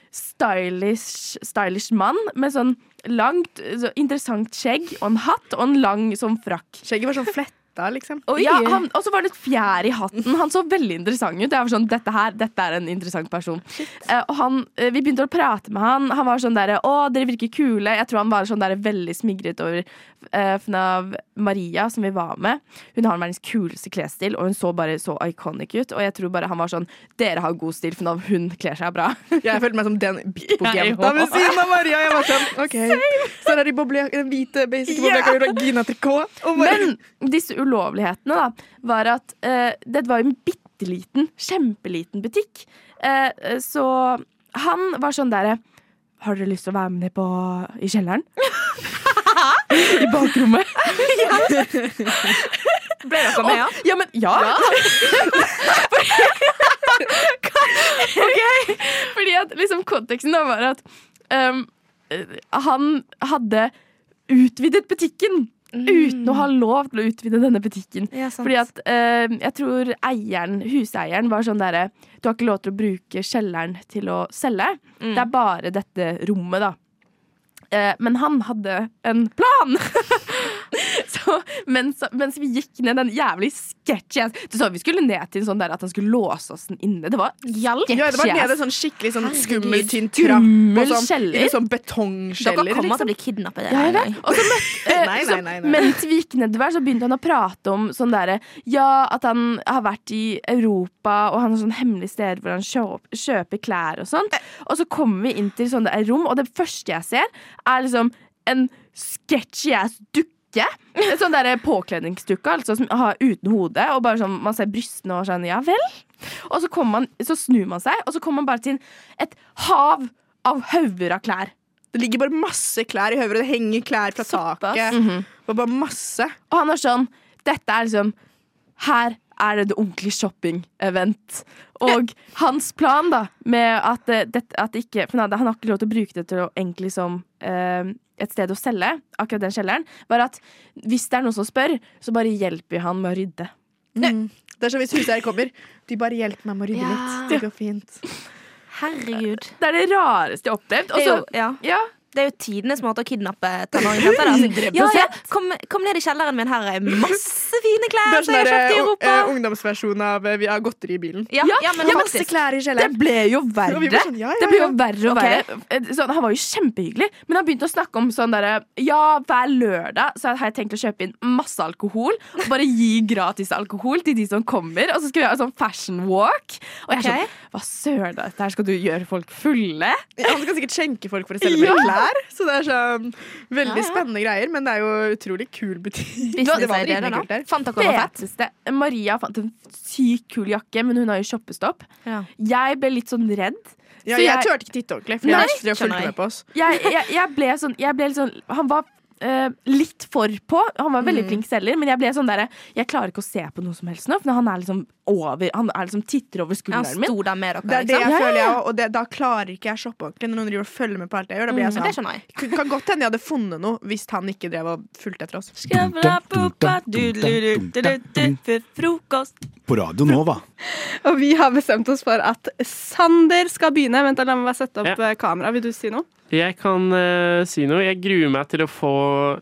Speaker 8: stylish, stylish mann med sånn langt, så interessant skjegg og en hatt og en lang sånn frakk.
Speaker 3: Skjegget var sånn fletta, liksom.
Speaker 8: Ja, han, og så var det et fjær i hatten. Han så veldig interessant ut. Jeg var sånn, dette her, dette er en interessant person. Eh, og han, eh, vi begynte å prate med han. Han var sånn derre Å, dere virker kule. Jeg tror han var sånn der, veldig smigret over eh, FNAV Maria, som vi var med. Hun har verdens kuleste klesstil, og hun så bare så iconic ut. Og jeg tror bare han var sånn Dere har god stil, FNAV. Hun kler seg bra.
Speaker 3: Jeg følte meg som den
Speaker 8: Jeg
Speaker 3: bitbok-jenta
Speaker 8: også.
Speaker 3: ved siden av Maria. Jeg var sånn, ok Så er det de boble, den hvite basic
Speaker 8: Ja.
Speaker 3: boblejaka med Regina-trikot. og bare-
Speaker 8: Men disse ulovlighetene da, var at eh, dette var jo en bitte liten, kjempeliten butikk. Eh, eh, så han var sånn derre Har dere lyst til å være med ned på, i kjelleren? I bakrommet.
Speaker 7: Ble dere med, ja?
Speaker 8: Ja, men ja! ok! Fordi at liksom konteksten da var at um, eh, han hadde utvidet butikken
Speaker 3: Mm.
Speaker 8: uten å ha lov til å utvide denne butikken.
Speaker 7: Ja, sant.
Speaker 8: Fordi at eh, jeg tror eieren, huseieren var sånn derre Du har ikke lov til å bruke kjelleren til å selge.
Speaker 3: Mm.
Speaker 8: Det er bare dette rommet, da. Eh, men han hadde en plan! så mens, mens vi gikk ned den jævlig sketchy Du sa vi skulle ned til en sånn der at han skulle låse oss den inne. Det var sketchy.
Speaker 3: Ja, det var nede
Speaker 8: ass.
Speaker 3: en sånn skikkelig sånn
Speaker 7: Herregud.
Speaker 3: skummel, tynn trapp.
Speaker 8: Skummel
Speaker 3: og sånn,
Speaker 8: kjeller.
Speaker 3: i en sånn
Speaker 7: Dere
Speaker 3: betongkjeller.
Speaker 7: kommer
Speaker 3: Liksom.
Speaker 7: til å bli kidnappet.
Speaker 8: Ja,
Speaker 7: en
Speaker 8: jeg vet.
Speaker 7: gang.
Speaker 8: Og så møtte, eh,
Speaker 3: Nei, nei,
Speaker 8: så
Speaker 3: nei, nei.
Speaker 8: Mens vi gikk nedover, så begynte han å prate om sånn derre Ja, at han har vært i Europa, og han har sånne hemmelige steder hvor han kjøp, kjøper klær og sånt. Og så kommer vi inn til sånne der rom, og det første jeg ser, er liksom en sketchy ass dukke. En Sånn derre påkledningsdukke, altså, som har uten hode, og bare sånn man ser brystene og sånn Ja vel? Og så, kommer man, så snur man seg, og så kommer man bare til et hav av hauger av klær.
Speaker 3: Det ligger bare masse klær i høver, og det henger klær fra taket. Det var bare masse.
Speaker 8: Og han er sånn Dette er liksom Her er det et ordentlig shopping-event. Og hans plan, da, med at, eh, det, at det ikke For han hadde- han har ikke lov til å bruke det til å egentlig som eh, et sted å selge, akkurat den kjelleren, var at hvis det er noen som spør, så bare hjelper vi han med å rydde.
Speaker 3: Det er som hvis huseier kommer. De bare hjelper meg med å rydde
Speaker 7: Ja.
Speaker 3: litt. Det går fint.
Speaker 7: Herregud.
Speaker 8: Det er det rareste jeg har opplevd. Og
Speaker 7: Det er
Speaker 8: så
Speaker 7: jo, ja.
Speaker 8: ja,
Speaker 7: Det er jo tidenes måte å kidnappe tenåringsjenter altså.
Speaker 8: 100%.
Speaker 7: Ja, ja, kom, kom ned i kjelleren min, her er masse fine klær som jeg har
Speaker 11: sånn
Speaker 7: kjøpt i Europa.
Speaker 3: sånn, eh,
Speaker 11: eh,
Speaker 3: ungdomsversjon av eh, vi har godteri i bilen.
Speaker 7: Ja, ja, men
Speaker 3: masse
Speaker 7: faktisk.
Speaker 3: klær i
Speaker 8: Det
Speaker 3: kjelleren.
Speaker 8: ble jo verre.
Speaker 3: Og vi var sånn, ja, ja,
Speaker 8: Det ble jo
Speaker 3: ja.
Speaker 8: verre og
Speaker 7: Ok.
Speaker 8: verre. Eh, Sånn, han var jo kjempehyggelig, men han begynte å snakke om sånn derre Ja, hver lørdag så har jeg tenkt å kjøpe inn masse alkohol. Og bare gi gratis alkohol til de som kommer. Og så skal vi ha en sånn fashion walk. Og jeg er
Speaker 7: Ok.
Speaker 8: sånn Hva søren, da? Dette her skal du gjøre folk fulle?
Speaker 3: Han skal sikkert skjenke folk for å selge mer
Speaker 8: Ja.
Speaker 3: klær. Så det er sånn veldig
Speaker 7: Ja, ja.
Speaker 3: spennende greier, men det er jo utrolig kul butikk.
Speaker 7: Business
Speaker 3: Det var
Speaker 7: idea,
Speaker 3: rimelig
Speaker 7: da.
Speaker 3: kult der.
Speaker 7: Fant dere noe fett?
Speaker 8: Feteste. Maria fant en sykt kul jakke, men hun har jo shoppestopp.
Speaker 7: Ja.
Speaker 8: Jeg ble litt sånn redd.
Speaker 3: Ja,
Speaker 8: Så
Speaker 3: jeg
Speaker 8: jeg-
Speaker 3: turte ikke titte ordentlig, for
Speaker 8: Nei,
Speaker 3: jeg drev og
Speaker 7: skjønner
Speaker 3: fulgte
Speaker 7: jeg.
Speaker 3: med på oss.
Speaker 8: jeg, jeg, jeg ble sånn, jeg ble litt sånn Han var eh, litt for på. Han var en
Speaker 12: Mm.
Speaker 8: veldig flink selger, men jeg ble sånn derre Jeg klarer ikke å se på noe som helst nå, for han er liksom over Han er liksom titter over
Speaker 7: Ja, Han
Speaker 8: skulderen min.
Speaker 7: sto der med
Speaker 3: Det
Speaker 7: dere,
Speaker 3: er det
Speaker 7: liksom.
Speaker 3: jeg føler, jeg også, og det, da klarer ikke jeg å shoppe ordentlig. Når noen driver og følger med på alt jeg gjør, da blir jeg
Speaker 7: Men Det
Speaker 3: sånn.
Speaker 7: skjønner jeg.
Speaker 3: Det kan godt hende jeg hadde funnet noe hvis han ikke drev og fulgte etter oss.
Speaker 1: Frokost.
Speaker 13: På Radio Nova.
Speaker 12: Og vi har bestemt oss for at Sander skal begynne. Vent, da, la meg bare sette opp
Speaker 14: Ja.
Speaker 12: eh, kamera. Vil du si noe?
Speaker 14: Jeg kan eh, si noe. Jeg gruer meg til å få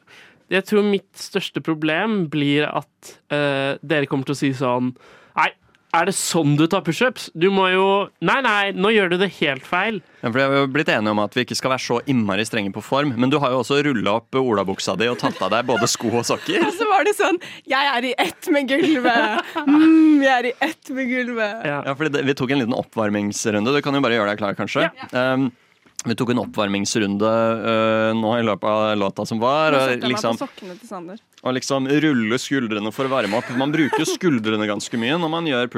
Speaker 14: Jeg tror mitt største problem blir at eh, dere kommer til å si sånn Nei, er det sånn du tar pushups? Du må jo Nei, nei, nå gjør du det helt feil.
Speaker 15: Ja, for Vi har jo blitt enige om at vi ikke skal være så innmari strenge på form, men du har jo også rulla opp olabuksa di og tatt av deg både sko og sokker.
Speaker 12: Og så var det sånn Jeg er i ett med gulvet. Mm, jeg er i ett med gulvet.
Speaker 15: Ja, fordi det, Vi tok en liten oppvarmingsrunde. Du kan jo bare gjøre deg klar, kanskje. Um, vi tok en oppvarmingsrunde uh, nå i løpet av låta som var.
Speaker 12: Nå
Speaker 15: og
Speaker 12: setter jeg meg
Speaker 15: liksom,
Speaker 12: på sokkene til Sander.
Speaker 15: og liksom rulle skuldrene for å varme opp. Man bruker jo skuldrene ganske mye når man gjør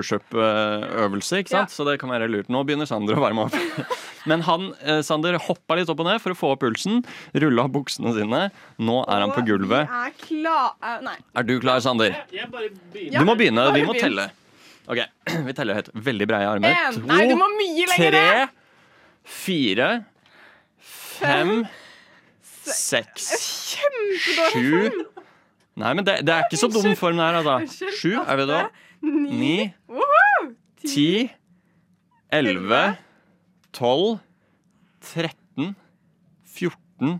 Speaker 15: pushup-øvelse, ikke sant? Så det kan være lurt. Nå begynner Sander å varme opp. Men han, eh, Sander hoppa litt opp og ned for å få opp pulsen. Rulla av buksene sine. Nå er han på gulvet.
Speaker 12: Jeg er klar eh, Nei.
Speaker 15: Er du klar, Sander?
Speaker 14: Jeg bare
Speaker 15: Du må begynne.
Speaker 12: bare
Speaker 15: Vi må
Speaker 12: begynn.
Speaker 15: telle. Ok, Vi teller høyt. Veldig breie armer.
Speaker 12: En.
Speaker 15: To,
Speaker 12: Nei, du må mye lenger
Speaker 15: tre,
Speaker 12: ned.
Speaker 15: fire, fem, seks,
Speaker 12: Kjempedårlig
Speaker 15: sju Nei, men det, det er ikke så dum form det her, altså.
Speaker 12: Unnskyld.
Speaker 15: Sju, er vi da? Ni,
Speaker 12: Woohoo!
Speaker 15: ti, elleve, tolv, tretten, fjorten,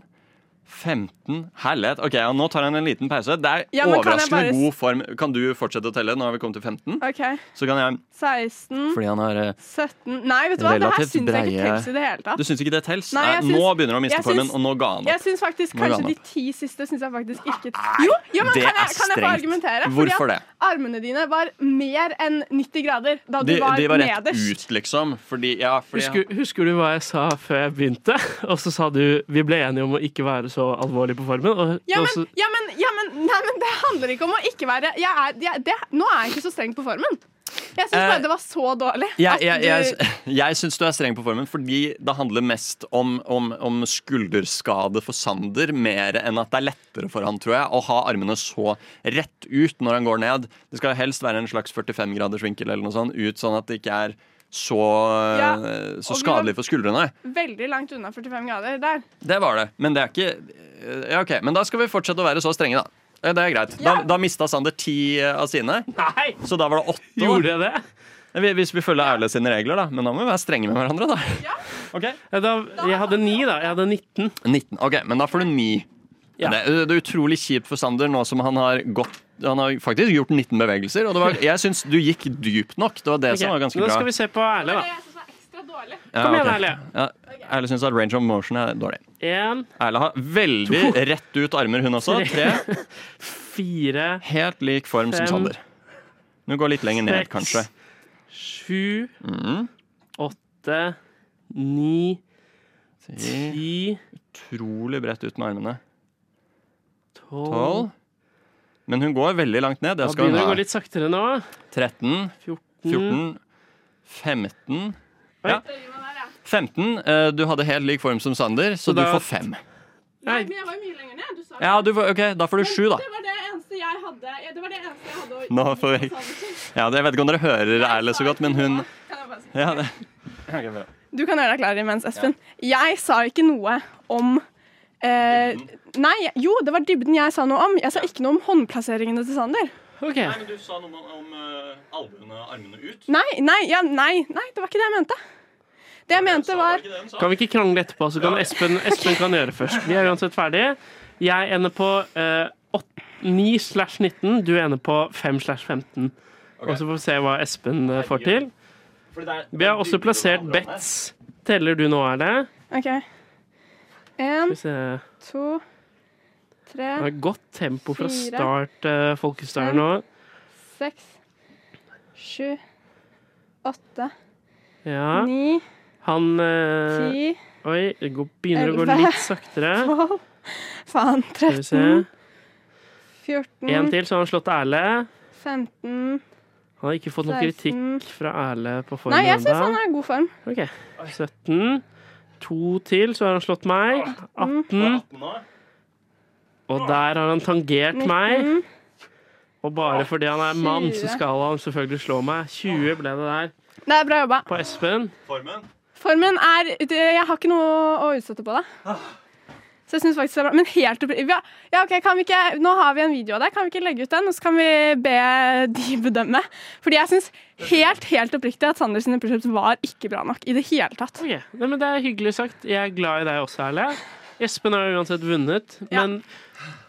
Speaker 15: femten Herlighet. Ok, og Nå tar han en liten pause. Det er
Speaker 12: Ja, men kan jeg
Speaker 15: overraskende
Speaker 12: bare s-
Speaker 15: god form. Kan du fortsette å telle? Nå har vi kommet til 15.
Speaker 12: OK. Mm.
Speaker 15: Så kan jeg
Speaker 12: 16
Speaker 15: Fordi han har eh,
Speaker 12: 17 Nei, vet du hva, det her
Speaker 15: relativt
Speaker 12: syns jeg ikke
Speaker 15: breie
Speaker 12: telles i det hele tatt.
Speaker 15: Du syns ikke det tels?
Speaker 12: Nei,
Speaker 15: Nei,
Speaker 12: jeg syns-
Speaker 15: nå begynner han å miste
Speaker 12: jeg
Speaker 15: formen,
Speaker 12: syns-
Speaker 15: og nå ga han
Speaker 12: Jeg
Speaker 15: opp.
Speaker 12: syns faktisk
Speaker 15: Nå ga
Speaker 12: kanskje
Speaker 15: han
Speaker 12: de
Speaker 15: opp.
Speaker 12: ti siste syns jeg faktisk ikke Jo, jo men
Speaker 15: Ah, Det
Speaker 12: kan
Speaker 15: er
Speaker 12: jeg, kan jeg få
Speaker 15: strengt.
Speaker 12: argumentere?
Speaker 15: Hvorfor
Speaker 12: Fordi
Speaker 15: det?
Speaker 12: at Armene dine var mer enn 90 grader da du
Speaker 15: De,
Speaker 12: var,
Speaker 15: de var rett
Speaker 12: nederst.
Speaker 15: ut, liksom. Fordi, ja, fordi
Speaker 14: Husker, husker du hva jeg sa før jeg begynte? Og så sa du vi ble enige om å ikke være så alvorlig på formen. Og,
Speaker 12: Ja
Speaker 14: og så,
Speaker 12: men,
Speaker 15: Altså-
Speaker 12: ja, men, ja, men, nei, men det handler ikke om å ikke være jeg er, jeg, det, Nå er jeg ikke så streng på formen. Jeg syns bare
Speaker 15: Eh,
Speaker 12: det var så dårlig.
Speaker 15: jeg,
Speaker 12: at
Speaker 15: jeg,
Speaker 12: du-
Speaker 15: jeg, jeg syns du er streng på formen, fordi det handler mest om, om, om skulderskade for Sander, mer enn at det er lettere for han, tror jeg, å ha armene så rett ut når han går ned. Det skal helst være en slags 45-graders vinkel eller noe sånt, ut sånn at det ikke er så, eh,
Speaker 12: Ja, og
Speaker 15: så
Speaker 12: vi var-
Speaker 15: skadelig for skuldrene.
Speaker 12: Veldig langt unna 45 grader der.
Speaker 15: Det var det, men det er ikke eh, Ja, ok, men da skal vi fortsette å være så strenge, da. Eh, Det er greit. Da, da mista Sander ti eh, av sine,
Speaker 14: nei!
Speaker 15: så da var det åtte. da.
Speaker 14: Gjorde jeg det?
Speaker 15: Vi- Hvis vi følger Erle sine regler, da. Men da må vi være strenge med hverandre, da.
Speaker 14: Ja, da, jeg hadde ni, da. Jeg hadde 19.
Speaker 15: 19. Ok, men da får du ni.
Speaker 14: Ja.
Speaker 15: Det, er- det er utrolig kjipt for Sander nå som han har gått Han har faktisk gjort 19 bevegelser, og det var, jeg syns du gikk dypt nok. Det var det
Speaker 14: Ok,
Speaker 15: som var ganske
Speaker 14: Nå
Speaker 15: bra.
Speaker 14: skal vi se på Erle, da.
Speaker 15: Ja,
Speaker 14: Kom igjen,
Speaker 15: ok.
Speaker 14: Erle.
Speaker 15: Ja, Erle syns at range of motion er dårlig.
Speaker 14: En,
Speaker 15: Erle har veldig
Speaker 14: To.
Speaker 15: rett ut armer, hun også. Tre.
Speaker 14: fire,
Speaker 15: Helt lik form
Speaker 14: Fem.
Speaker 15: som Sander. Nå går litt lenger ned,
Speaker 14: Seks.
Speaker 15: kanskje.
Speaker 14: sju,
Speaker 15: Mm.
Speaker 14: åtte, ni,
Speaker 15: Ti.
Speaker 14: ti,
Speaker 15: Utrolig bredt ut med armene.
Speaker 14: tolv
Speaker 15: Tolv. Men hun går veldig langt ned.
Speaker 14: Da
Speaker 15: Det skal hun
Speaker 14: begynner det å
Speaker 15: ha.
Speaker 14: gå litt saktere nå.
Speaker 15: 13, 14, 15 ja. 15. eh, Du hadde helt lik form som Sander, så,
Speaker 14: Så
Speaker 15: du
Speaker 14: da-
Speaker 15: får fem.
Speaker 12: Nei, men jeg var jo mye lenger ned. Du sa
Speaker 15: Ja, du får, ok, Da får du sju, da.
Speaker 12: Det var det eneste jeg hadde. ja, Det var det eneste jeg hadde å
Speaker 15: Nå får vi Ja, det- Jeg vet ikke om dere hører Erle så godt, men hun
Speaker 12: Kan jeg bare si-
Speaker 15: ja, det.
Speaker 12: Du kan gjøre deg klar imens, Espen. Jeg sa ikke noe om eh, Nei, jo, det var dybden jeg sa noe om. Jeg sa ikke noe om håndplasseringene til Sander.
Speaker 15: Nei, men Du sa noe om, om eh, albuene, armene ut.
Speaker 12: Nei, nei, ja, nei, nei, det var ikke det jeg mente. Det jeg mente var
Speaker 14: Kan vi ikke krangle etterpå, så kan Espen, Espen kan gjøre det først. Vi er uansett ferdige. Jeg ender på eh, åt- 9 slash 19, du ender på 5 slash 15. Og så får vi se hva Espen eh, får til. Vi har også plassert bets. Teller du nå, er det?
Speaker 12: OK. Én,
Speaker 14: Skal vi se.
Speaker 12: to, tre,
Speaker 14: Det var godt tempo fra
Speaker 12: Fire.
Speaker 14: start, uh, Folkestad nå.
Speaker 12: seks, sju, åtte,
Speaker 14: Ja.
Speaker 12: ni,
Speaker 14: Han eh,
Speaker 12: ti,
Speaker 14: Oi, det går, begynner å gå
Speaker 12: Elleve.
Speaker 14: litt saktere.
Speaker 12: tolv Faen.
Speaker 14: Skal vi se.
Speaker 12: 13, 14,
Speaker 14: En til, så har han slått Erle.
Speaker 12: 15
Speaker 14: Han har ikke fått noen
Speaker 12: 16.
Speaker 14: kritikk fra Erle på form
Speaker 12: Nei, jeg syns han
Speaker 14: ennå.
Speaker 12: er i god form.
Speaker 14: Ok. 17. To til, så har han slått meg. 18. Og der har han tangert meg.
Speaker 12: 19,
Speaker 14: Og bare fordi han er mann, så
Speaker 12: 20.
Speaker 14: skal han selvfølgelig slå meg. 20 ble det der
Speaker 12: Det er bra jobba.
Speaker 14: på Espen.
Speaker 12: Formen er det- Jeg har ikke noe å utsette på det. Så jeg synes faktisk det er bra. Men helt oppriktig ja, ja, ok, kan vi ikke, Nå har vi en video av det. Kan vi ikke legge ut den, og så kan vi be de bedømme? Fordi jeg syns helt helt oppriktig at Sanders sine pushups var ikke bra nok i det hele tatt.
Speaker 14: Nei, men Det er hyggelig sagt. Jeg er glad i deg også, Erle. Espen har jo uansett vunnet, men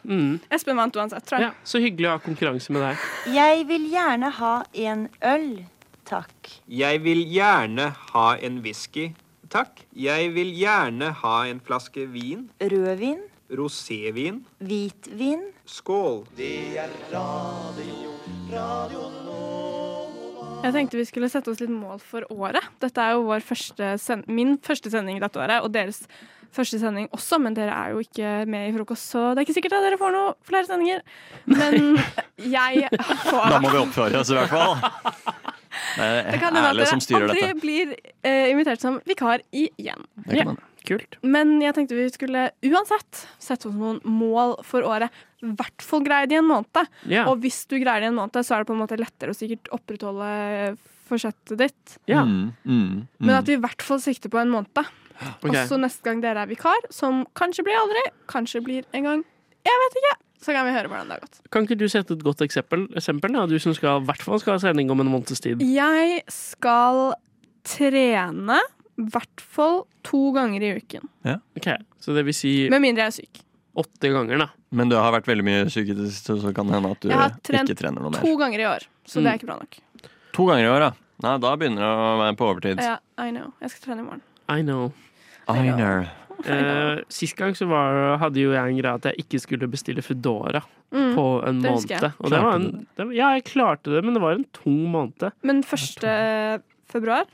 Speaker 14: mm,
Speaker 12: Espen vant uansett, tror jeg.
Speaker 14: ja, Så hyggelig å ha konkurranse med deg.
Speaker 13: Jeg vil gjerne ha en øl, takk.
Speaker 16: Jeg vil gjerne ha en whisky. Takk. Jeg vil gjerne ha en flaske vin.
Speaker 13: Rødvin,
Speaker 16: Rosévin.
Speaker 13: hvitvin.
Speaker 16: Skål.
Speaker 12: Jeg tenkte vi skulle sette oss litt mål for året. Dette er jo vår første sen min første sending dette året, og deres første sending også, men dere er jo ikke med i frokost, så det er ikke sikkert at dere får noe flere sendinger. Men jeg får
Speaker 15: Da må vi oppføre oss i hvert fall. Det
Speaker 12: Det
Speaker 15: er
Speaker 12: kan hende at
Speaker 15: Erle som
Speaker 12: dere
Speaker 15: styrer
Speaker 12: aldri
Speaker 15: dette.
Speaker 12: blir eh, invitert som vikar igjen.
Speaker 15: Det kan hende.
Speaker 14: Kult.
Speaker 12: Men jeg tenkte vi skulle uansett sette oss noen mål for året. I hvert fall greie det i en måned.
Speaker 14: Ja.
Speaker 12: Og hvis du greier det i en måned, så er det på en måte lettere å sikkert opprettholde forsettet ditt.
Speaker 15: Mm, mm,
Speaker 12: Men
Speaker 15: mm.
Speaker 12: at vi i hvert fall sikter på en måned.
Speaker 15: Ok.
Speaker 12: Og så neste gang dere er vikar, som kanskje blir aldri, kanskje blir en gang, jeg vet ikke, så kan vi høre hvordan det har gått.
Speaker 14: Kan ikke du sette et godt eksempel, eksempel da? du som skal, i hvert fall skal ha sending om en måneds tid?
Speaker 12: Jeg skal trene i hvert fall to ganger i uken.
Speaker 14: Ok, Så det vil si
Speaker 12: Med mindre jeg er syk.
Speaker 14: åtte ganger, da.
Speaker 15: Men du har vært veldig mye syk i det siste, så kan det hende at du
Speaker 12: Jeg har trent
Speaker 15: ikke trener noe
Speaker 12: to
Speaker 15: mer.
Speaker 12: ganger i år, så
Speaker 15: Mm.
Speaker 12: det er ikke bra nok.
Speaker 15: To ganger i år, ja. Nei, da begynner det å være på overtid.
Speaker 12: Ja, I know. Jeg skal trene i morgen.
Speaker 14: I know.
Speaker 15: I know.
Speaker 14: Eh, sist gang så var, hadde jo jeg en greie at jeg ikke skulle bestille Foodora
Speaker 12: Mm,
Speaker 14: på en
Speaker 12: det husker jeg.
Speaker 14: måned. Og det var en, det, ja, jeg klarte det, men det var en tung måned.
Speaker 12: Men 1. februar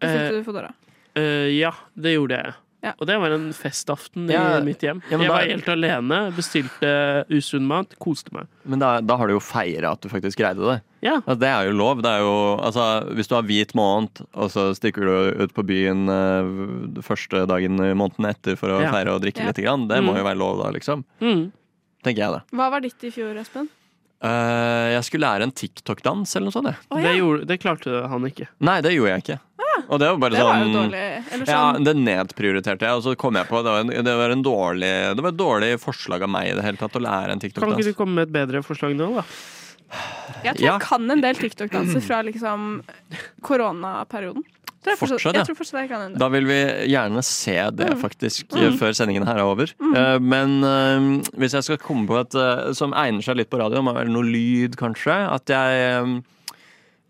Speaker 12: bestilte du Foodora.
Speaker 14: Eh, ja, det gjorde jeg.
Speaker 12: Ja.
Speaker 14: Og det var en festaften
Speaker 15: Ja,
Speaker 14: i mitt hjem.
Speaker 15: ja, men
Speaker 14: jeg
Speaker 15: da-
Speaker 14: var helt alene, bestilte usunn mat, koste meg.
Speaker 15: Men da, da har du jo feira at du faktisk greide det.
Speaker 14: Ja.
Speaker 15: Altså, det er jo lov. Det er jo, altså, hvis du har hvit måned, og så stikker du ut på byen eh, første dagen i måneden etter for å
Speaker 14: Ja.
Speaker 15: feire og drikke
Speaker 12: Ja.
Speaker 15: litt, grann, det må
Speaker 14: Mm.
Speaker 15: jo være lov da, liksom.
Speaker 14: Mm.
Speaker 15: Tenker jeg, da.
Speaker 12: Hva var ditt i fjor, Espen?
Speaker 15: Eh, jeg skulle lære en TikTok-dans eller noe sånt. jeg.
Speaker 12: Å, ja. Det
Speaker 14: klarte han ikke.
Speaker 15: Nei, det gjorde jeg ikke. Og det var bare
Speaker 12: Det var jo
Speaker 15: sånn
Speaker 12: dårlig. Eller
Speaker 15: Ja,
Speaker 12: sånn
Speaker 15: det nedprioriterte jeg, og så kom jeg på det var, en, det var en dårlig Det var et dårlig forslag av meg i det hele tatt å lære
Speaker 14: Kan
Speaker 15: en TikTok-dans.
Speaker 14: ikke du komme med et bedre forslag nå, da?
Speaker 12: Jeg tror
Speaker 15: Ja.
Speaker 12: jeg kan en del TikTok-danser fra liksom koronaperioden. Tror jeg
Speaker 15: Fortsatt, ja.
Speaker 12: Jeg tror fortsatt jeg kan en del.
Speaker 15: Da vil vi gjerne se det, faktisk,
Speaker 12: Mm.
Speaker 15: før sendingen her er over.
Speaker 12: Mm.
Speaker 15: Eh, Men eh, hvis jeg skal komme på et eh, som egner seg litt på radio, må være noe lyd, kanskje At jeg eh,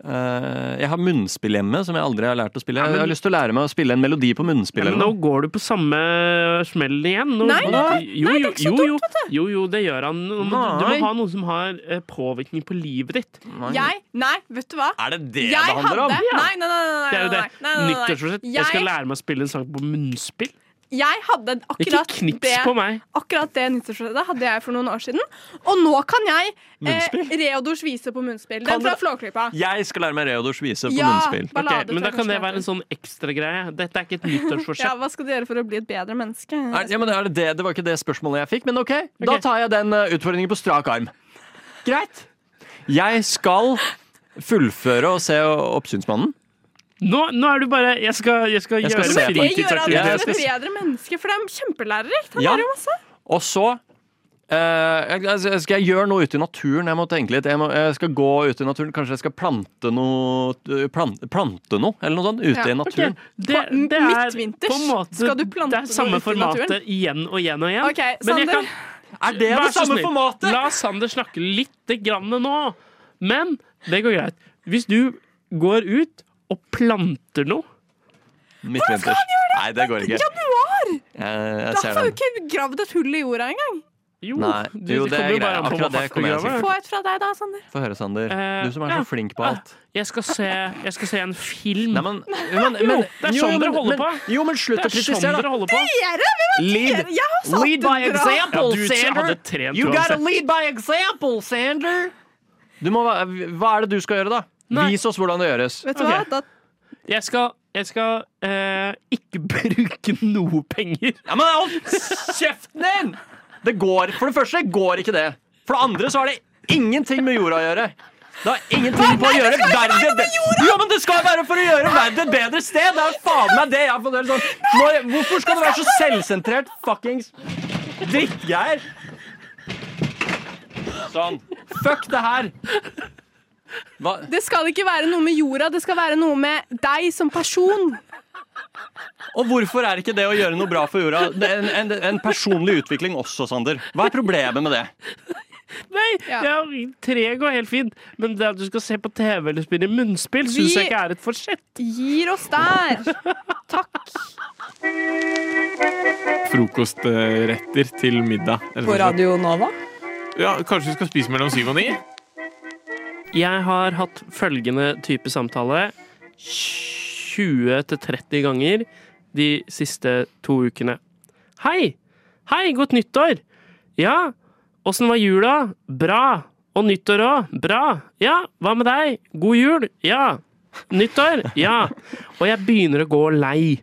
Speaker 15: eh, Jeg har munnspill hjemme som jeg aldri har lært å spille.
Speaker 14: Ja, men-
Speaker 15: Jeg har lyst til å lære meg å spille en melodi på munnspill.
Speaker 14: Ja, men
Speaker 15: eller
Speaker 14: nå
Speaker 15: noe.
Speaker 14: går du på samme smell igjen. Nå,
Speaker 12: Nei, nei,
Speaker 14: jo,
Speaker 12: nei, det er
Speaker 14: jo,
Speaker 12: ikke
Speaker 14: jo,
Speaker 12: så
Speaker 14: jo,
Speaker 12: dumt,
Speaker 14: jo, jo, det gjør han. Nå må Du, du
Speaker 15: Nei.
Speaker 14: må ha noen som har eh, påvirkning på livet ditt.
Speaker 12: Jeg Nei, vet du hva?
Speaker 15: Er det det
Speaker 12: jeg
Speaker 14: det handler om?
Speaker 12: hadde,
Speaker 14: Ja.
Speaker 12: Nei, nei, nei. nei,
Speaker 14: Det er jo
Speaker 12: nei,
Speaker 14: det.
Speaker 12: nei, nei, nei, nei.
Speaker 14: Nyttårsforsett. Jeg skal lære meg å spille en sang på munnspill.
Speaker 12: Jeg hadde akkurat
Speaker 14: knips
Speaker 12: det,
Speaker 14: på meg.
Speaker 12: Akkurat det nyttårsforsettet hadde jeg for noen år siden. Og nå kan jeg eh,
Speaker 15: Munnspill?
Speaker 12: Reodors vise på munnspill.
Speaker 15: Kan
Speaker 12: Den fra
Speaker 15: du-
Speaker 12: Flåklypa.
Speaker 15: Jeg skal lære meg Reodors vise på
Speaker 12: Ja,
Speaker 15: munnspill.
Speaker 12: ballade
Speaker 14: Ok, men da
Speaker 12: tror jeg
Speaker 14: kan
Speaker 12: kanskje
Speaker 14: det være en sånn ekstragreie. Dette er ikke et nyttårsforsett.
Speaker 12: Ja, hva skal du gjøre for å bli et bedre menneske?
Speaker 15: Er, ja, men er det, det, det var ikke det spørsmålet jeg fikk, men ok. Da tar jeg den eh, utfordringen på strak arm. Greit. Jeg skal fullføre og se Oppsynsmannen.
Speaker 14: Nå, nå er du bare Jeg skal, jeg skal
Speaker 15: Jeg skal
Speaker 14: gjøre
Speaker 15: se på
Speaker 12: det gjør at du
Speaker 14: fritidsaktiviteter.
Speaker 12: blir et bedre menneske, for det er kjempelærerikt. Han
Speaker 15: Ja.
Speaker 12: lærer jo masse.
Speaker 15: Og så Eh, jeg- jeg- skal jeg gjøre noe ute i naturen? Jeg må tenke litt. Jeg, må, jeg skal gå ut i naturen. Kanskje jeg skal plante noe Plante, plante noe, eller noe sånt, ute i naturen.
Speaker 14: Det, det er
Speaker 12: midtvinters?
Speaker 14: på en måte
Speaker 12: Skal du plante
Speaker 14: det er samme
Speaker 12: noe ute i naturen?
Speaker 14: formatet igjen og igjen og igjen.
Speaker 12: Ok,
Speaker 14: Men jeg
Speaker 12: Sander.
Speaker 14: kan-
Speaker 12: Er det det
Speaker 14: Vær så
Speaker 12: samme
Speaker 14: snill,
Speaker 12: formatet?
Speaker 14: La Sander snakke lite grann nå. Men det går greit. Hvis du går ut og planter noe
Speaker 15: Midtvinters. Nei, det går ikke.
Speaker 12: Januar!
Speaker 15: Jeg, jeg
Speaker 12: Da
Speaker 15: ser
Speaker 12: får du
Speaker 15: den.
Speaker 12: ikke gravd et hull i jorda engang.
Speaker 14: Jo,
Speaker 15: Nei, jo, det er greit. Akkurat det kommer jeg til.
Speaker 12: Få et fra deg, da, Sander.
Speaker 15: Få høre, Sander. Du som er
Speaker 14: Eh, ja. Ah,
Speaker 15: så flink på alt.
Speaker 14: Jeg skal se, jeg skal se en film.
Speaker 15: Nei, men, men,
Speaker 14: jo,
Speaker 15: men,
Speaker 14: det er
Speaker 15: jo,
Speaker 14: sånn
Speaker 15: men-
Speaker 14: dere holder
Speaker 15: men-
Speaker 14: på.
Speaker 15: Jo, men slutt
Speaker 14: Det
Speaker 15: å
Speaker 14: er sånn
Speaker 15: kritisere,
Speaker 14: dere
Speaker 15: da.
Speaker 14: holder på.
Speaker 15: Lead, lead by example,
Speaker 14: Ja, du
Speaker 15: Sander.
Speaker 14: hadde trent
Speaker 15: You gotta
Speaker 14: uansett.
Speaker 15: lead by example, Sander. Du må, være- hva er det du skal gjøre, da? Vis oss hvordan det gjøres.
Speaker 14: Ok. Jeg skal, jeg skal eh, ikke bruke noe penger.
Speaker 15: Ja, men hold kjeften din! Det går, for det første går ikke det. For det andre så har det ingenting med jorda å gjøre. Det har ingenting på å gjøre verden Jo, men det skal være for å gjøre verden et bedre sted! Det er faen meg det jeg har fått høre sånn. Når, hvorfor skal du være så selvsentrert fuckings drittgeir? Sånn. Fuck det her. Hva?
Speaker 12: Det skal ikke være noe med jorda, det skal være noe med deg som person.
Speaker 15: Og hvorfor er ikke det å gjøre noe bra for jorda det er en, en, en personlig utvikling også, Sander? Hva er problemet med det?
Speaker 14: Nei, ja. tre går helt fint, men det at du skal se på TV eller spille munnspill, syns
Speaker 12: Vi-
Speaker 14: jeg ikke er et forsett.
Speaker 12: Gir oss der. Takk.
Speaker 17: Frokostretter til middag. eller
Speaker 18: På
Speaker 17: noe sånt.
Speaker 18: Radio Nova?
Speaker 17: Ja, Kanskje vi skal spise mellom syv og ni?
Speaker 14: Jeg har hatt følgende type samtale 20-30 ganger de siste to ukene. Hei! Hei, godt nyttår! Ja, åssen var jula? Bra! Og nyttår òg? Bra! Ja, hva med deg? God jul? Ja. Nyttår? Ja. Og jeg begynner å gå lei.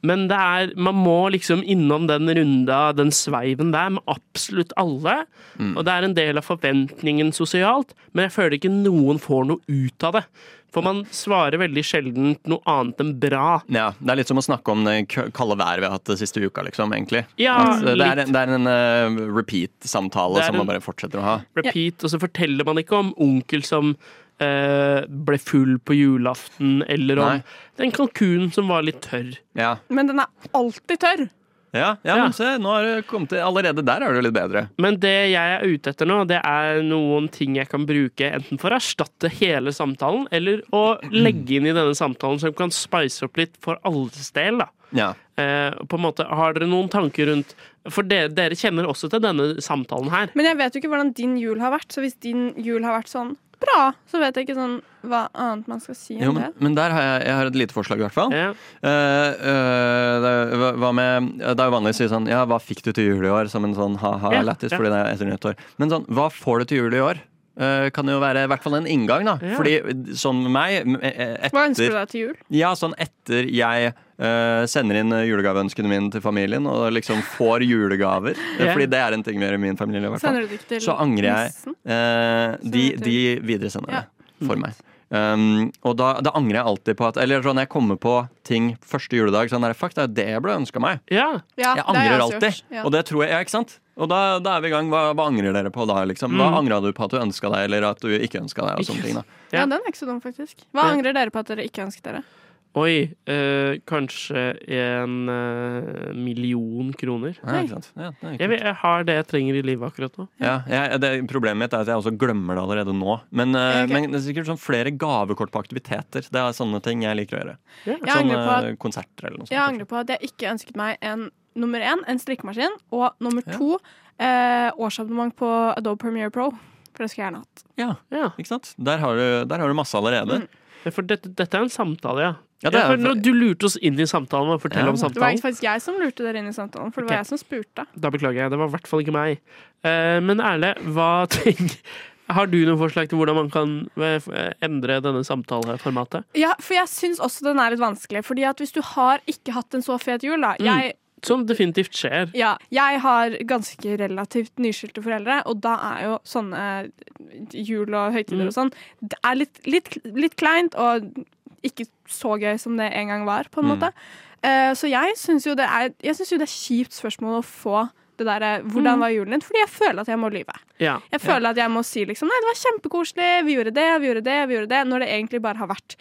Speaker 14: Men det er, man må liksom innom den runda, den sveiven der, med absolutt alle. Og det er en del av forventningen sosialt, men jeg føler ikke noen får noe ut av det. For man svarer veldig sjelden noe annet enn bra.
Speaker 15: Ja, Det er litt som å snakke om det k- kalde været vi har hatt den siste uka, liksom. egentlig.
Speaker 14: Ja,
Speaker 15: At, eh, det, er,
Speaker 14: litt.
Speaker 15: en- det er en eh, repeat-samtale
Speaker 14: Det er
Speaker 15: som man
Speaker 14: en-
Speaker 15: bare fortsetter å ha.
Speaker 14: repeat, og så forteller man ikke om onkel som eh, ble full på julaften, eller om
Speaker 15: Nei.
Speaker 14: den kalkunen som var litt tørr.
Speaker 15: Ja,
Speaker 12: Men den er alltid tørr.
Speaker 15: ja, ja, men se, nå har det kommet til Allerede der er det jo litt bedre.
Speaker 14: Men det jeg er ute etter nå, det er noen ting jeg kan bruke enten for å erstatte hele samtalen, eller å legge inn i denne samtalen som kan spice opp litt for alles del, da.
Speaker 15: Ja.
Speaker 14: Eh, på en måte, har dere noen tanker rundt For dere, dere kjenner også til denne samtalen her.
Speaker 12: Men jeg vet jo ikke hvordan din jul har vært, så hvis din jul har vært sånn bra, så vet jeg ikke sånn hva annet man skal si
Speaker 15: Jo,
Speaker 12: om det.
Speaker 15: men, men der har jeg, jeg har et lite forslag, i hvert fall. Eh, eh, det, er- hva- hva med, det er jo vanlig å si sånn Ja, hva fikk du til jul i år? Som en sånn
Speaker 14: Ja,
Speaker 15: ha-ha-lættis,
Speaker 14: ja.
Speaker 15: fordi det er etter nyttår. Men sånn, hva får du til jul i år? Eh, kan jo være i hvert fall en inngang, da.
Speaker 12: Ja.
Speaker 15: Fordi sånn med meg m- eh, etter,
Speaker 12: Hva ønsker du deg til jul?
Speaker 15: Ja, sånn etter jeg eh, sender inn eh, julegaveønskene mine til familien, og liksom får julegaver. Eh,
Speaker 12: Ja.
Speaker 15: Fordi det er en ting vi gjør i min familie. I hvert fall.
Speaker 12: Sender du det ikke til
Speaker 15: Så angrer jeg.
Speaker 12: nissen?
Speaker 15: eh, de, de videresender
Speaker 12: Ja.
Speaker 15: det for meg. Um, og da, da angrer jeg alltid på at Eller sånn, jeg kommer på ting første juledag. Sånn der, Fuck, det er det jeg ble ønska meg.
Speaker 14: Ja,
Speaker 15: jeg
Speaker 14: det har
Speaker 15: angrer
Speaker 14: jeg også
Speaker 15: alltid.
Speaker 14: gjort, ja.
Speaker 15: Og det tror jeg, ja, ikke sant? Og da, da er vi i gang. Hva, hva angrer dere på da? liksom? Hva
Speaker 14: Mm.
Speaker 15: angra du på at du ønska deg, eller at du ikke ønska deg? og sånne ting da
Speaker 12: Ja, den er ikke så dum, faktisk. Hva
Speaker 14: Ja.
Speaker 12: angrer dere på at dere ikke ønsket dere?
Speaker 14: Oi, eh, kanskje en eh, million kroner.
Speaker 15: Ja, ikke sant. Ja, det er
Speaker 14: jeg, vil- jeg har det jeg trenger i livet akkurat nå.
Speaker 15: Ja, jeg, det, Problemet mitt er at jeg også glemmer det allerede nå. Men, eh,
Speaker 14: Ja, ok.
Speaker 15: men det er sikkert sånn flere gavekort på aktiviteter. Det er sånne ting jeg liker å gjøre.
Speaker 12: Jeg
Speaker 15: Sånn
Speaker 12: angrer på at-
Speaker 15: eh, konserter eller noe sånt.
Speaker 12: Jeg angrer på at jeg ikke ønsket meg en nummer én, en strikkemaskin, og nummer to, eh, årsabonnement på Adobe Premiere Pro. For det skulle jeg gjerne hatt.
Speaker 15: Ja, ikke sant? Der har du, der har du masse allerede.
Speaker 14: Mm. Ja, For dette, dette er en samtale, ja.
Speaker 15: Ja, det
Speaker 14: Ja,
Speaker 15: er-
Speaker 14: for når du lurte oss inn i samtalen med å fortelle om
Speaker 12: Det var
Speaker 14: samtalen.
Speaker 12: egentlig faktisk jeg som lurte dere inn i samtalen, for det
Speaker 14: Ok.
Speaker 12: var jeg som spurte.
Speaker 14: Da beklager jeg. Det var i hvert fall ikke meg. Eh, men Erle, hva tenk, har du noen forslag til hvordan man kan eh, f- eh, endre denne samtaleformatet?
Speaker 12: Ja, for jeg syns også den er litt vanskelig. Fordi at hvis du har ikke hatt en så fet jul, da
Speaker 14: Mm.
Speaker 12: jeg,
Speaker 14: Som definitivt skjer.
Speaker 12: ja, jeg har ganske relativt nyskilte foreldre, og da er jo sånne eh, jul og høytider og
Speaker 14: Mm.
Speaker 12: sånn Det er litt, litt, litt kleint og ikke så gøy som det en gang var, på en
Speaker 15: Mm.
Speaker 12: måte. Eh, så jeg syns jo det er Jeg synes jo det er kjipt spørsmål å få det der eh, 'hvordan
Speaker 15: Mm.
Speaker 12: var julen din?' Fordi jeg føler at jeg må lyve.
Speaker 14: Ja.
Speaker 12: Jeg føler at jeg må si liksom Nei, det var kjempekoselig, vi gjorde det, vi gjorde det, vi gjorde det. Når det egentlig bare har vært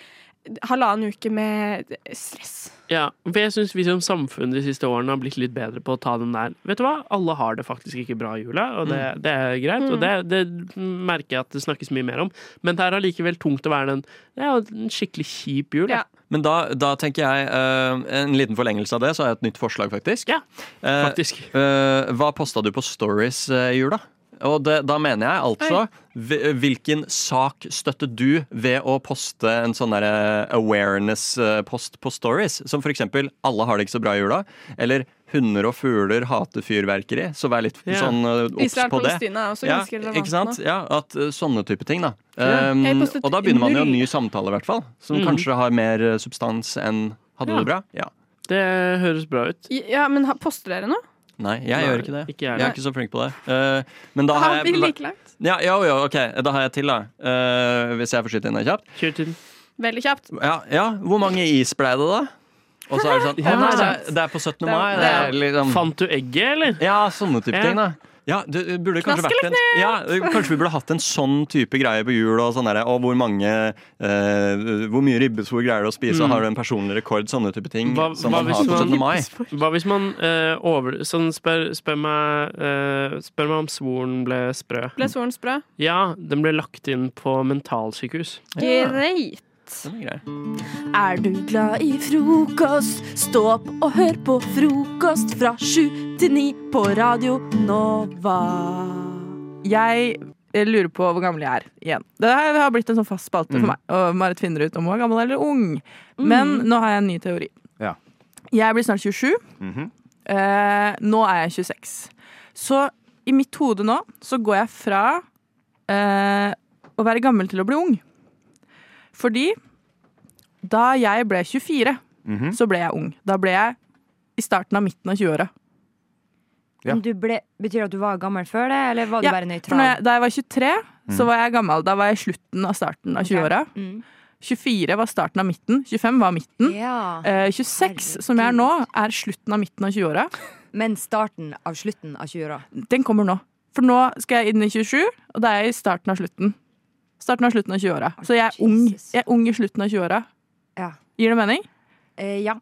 Speaker 12: halvannen uke med stress.
Speaker 14: Ja, for jeg syns vi som samfunn de siste årene har blitt litt bedre på å ta den der Vet du hva, alle har det faktisk ikke bra i jula, og det, det er greit. Og det, det merker jeg at det snakkes mye mer om. Men det er allikevel tungt å være den Det er jo en skikkelig kjip jul. da.
Speaker 15: Men da, da tenker jeg eh, en liten forlengelse av det, så har jeg et nytt forslag, faktisk. Eh, eh, hva posta du på Stories eh, i jula? Og det, da mener jeg altså hvi- Hvilken sak støtter du ved å poste en sånn der, eh, awareness-post på Stories? Som for eksempel 'Alle har det ikke så bra i jula', eller 'Hunder og fugler hater fyrverkeri'. Så vær litt
Speaker 12: Ja.
Speaker 15: sånn eh, obs
Speaker 12: Israel,
Speaker 15: på det.
Speaker 12: Palestina er også
Speaker 15: ja,
Speaker 12: ganske relevant
Speaker 15: ikke sant?
Speaker 12: nå.
Speaker 15: Ja, at eh, Sånne type ting, da.
Speaker 12: Ja.
Speaker 15: Um,
Speaker 12: Jeg postet
Speaker 15: og da begynner man jo en
Speaker 12: null.
Speaker 15: ny samtale, i hvert fall. Som
Speaker 12: Mm.
Speaker 15: kanskje har mer eh, substans enn 'hadde
Speaker 12: Ja.
Speaker 15: du det bra'? Ja.
Speaker 14: Det høres bra ut.
Speaker 12: Ja, men ha- poster dere noe?
Speaker 15: Nei, jeg
Speaker 14: Nei,
Speaker 15: gjør ikke
Speaker 14: ikke
Speaker 15: det.
Speaker 14: jeg
Speaker 15: jeg er
Speaker 14: heller.
Speaker 15: ikke så flink på det. Eh, men da har
Speaker 12: Har vi
Speaker 15: jeg
Speaker 12: like langt?
Speaker 15: ja, ja, ja, ok, Da har jeg til, da. Eh, hvis jeg får skyte inn det kjapt.
Speaker 12: Veldig kjapt.
Speaker 15: Ja, ja, Hvor mange is ble det, da? Og så er det sånn Å
Speaker 14: Ja,
Speaker 15: nei,
Speaker 14: det
Speaker 15: det
Speaker 14: er
Speaker 15: er, det er på 17.
Speaker 14: Det er-
Speaker 15: mai. Det
Speaker 14: det
Speaker 15: er liksom
Speaker 14: Fant du egget, eller?
Speaker 15: Ja, sånne type
Speaker 14: Ja.
Speaker 15: ting, da. Ja, det det burde kanskje
Speaker 14: Knask
Speaker 15: vært
Speaker 14: eller
Speaker 15: en, ja, Kanskje vi burde hatt en sånn type greie på jul. Og, sånn derre, og hvor mange eh, Hvor mye ribbesvor greier du å spise?
Speaker 14: Mm.
Speaker 15: Har du en personlig rekord? Sånne type ting.
Speaker 14: Hva,
Speaker 15: som
Speaker 14: hva,
Speaker 15: man
Speaker 14: hvis
Speaker 15: har på 17. mai.
Speaker 14: man, hva hvis man eh, over, sånn spør, spør, meg, eh, spør meg om svoren ble sprø.
Speaker 12: Ble svoren sprø?
Speaker 14: Ja, den ble lagt inn på mentalsykehus.
Speaker 12: Greit.
Speaker 18: Er du glad i frokost? Stå opp og hør på frokost fra sju til ni på Radio Nova.
Speaker 19: Jeg eh, lurer på hvor gammel jeg er igjen. Det her har blitt en sånn fast spalte
Speaker 20: Mm.
Speaker 19: for meg. Og Marit finner ut om hun er gammel eller ung. Men nå har jeg en ny teori.
Speaker 20: Ja.
Speaker 19: Jeg blir snart 27.
Speaker 20: Mhm.
Speaker 19: Eh, nå er jeg 26. Så i mitt hode nå så går jeg fra eh, å være gammel til å bli ung. Fordi da jeg ble 24,
Speaker 20: Mhm.
Speaker 19: så ble jeg ung. Da ble jeg i starten av midten av 20-åra. Ja.
Speaker 11: Men Du ble, betyr det at du var gammel før det, eller var du bare
Speaker 19: for når
Speaker 11: nøytral?
Speaker 19: jeg, da jeg var 23, så
Speaker 11: Mm.
Speaker 19: var jeg gammel. Da var jeg i slutten av starten av 20-åra. 24 var starten av midten, 25 var midten. Eh, 26, som jeg er nå, er slutten av midten av 20-åra.
Speaker 11: Men starten av slutten av 20-åra?
Speaker 19: Den kommer nå. For nå skal jeg inn i 27, og da er jeg i starten av slutten. Starten av slutten av 20-åra. Så jeg er ung. Jeg er ung i slutten av 20-åra.
Speaker 11: Ja.
Speaker 19: Gir det mening?
Speaker 11: Eh, ja.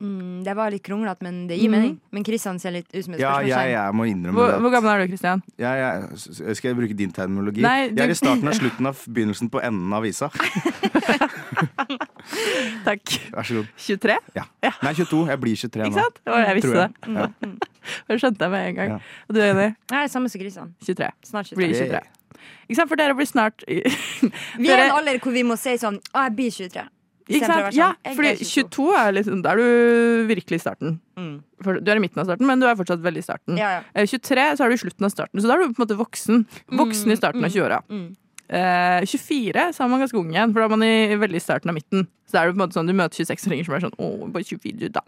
Speaker 11: Mm, det var litt kronglete, men det gir
Speaker 5: Mm.
Speaker 11: mening. Men Kristian ser litt ut som et
Speaker 20: Ja, jeg,
Speaker 11: spørsmålstegn.
Speaker 20: jeg må innrømme
Speaker 19: Hvor,
Speaker 20: det.
Speaker 19: hvor gammel er du, Kristian?
Speaker 20: Jeg, jeg, s- skal jeg bruke din terminologi?
Speaker 19: Nei, du-
Speaker 20: Jeg er i starten av slutten av begynnelsen på enden av visa.
Speaker 19: Takk.
Speaker 20: Vær så god.
Speaker 19: 23?
Speaker 20: Ja. Nei, 22. Jeg blir 23 nå.
Speaker 19: Ikke sant? Å, jeg visste
Speaker 20: Tror
Speaker 19: det. Mm. Det skjønte jeg med en gang.
Speaker 20: Ja.
Speaker 19: Og du, Jenny?
Speaker 11: Nei, samme som Kristian.
Speaker 19: 23.
Speaker 11: Snart 23.
Speaker 19: Blir 23. Ikke sant? For dere blir snart
Speaker 11: Vi er i en alder hvor vi må si sånn Å, jeg blir 23.
Speaker 19: Ikke
Speaker 11: Istedenfor å
Speaker 19: sant?
Speaker 11: være
Speaker 19: Ja,
Speaker 11: sånn, «Jeg
Speaker 19: fordi
Speaker 11: er 22».
Speaker 19: 22 er litt sånn Da er du virkelig i starten.
Speaker 11: Mm.
Speaker 19: For du er i midten av starten, men du er fortsatt veldig i starten.
Speaker 11: Ja, ja.
Speaker 19: Eh, 23 så er du i slutten av starten, så da er du på en måte voksen.
Speaker 11: Mm,
Speaker 19: Voksen i starten av 20-åra. Eh, 24 så er man ganske ung igjen, for da er man i veldig i starten av midten. Så da er du på en måte sånn, du møter 26-åringer som er sånn Å, bare 24, du, da.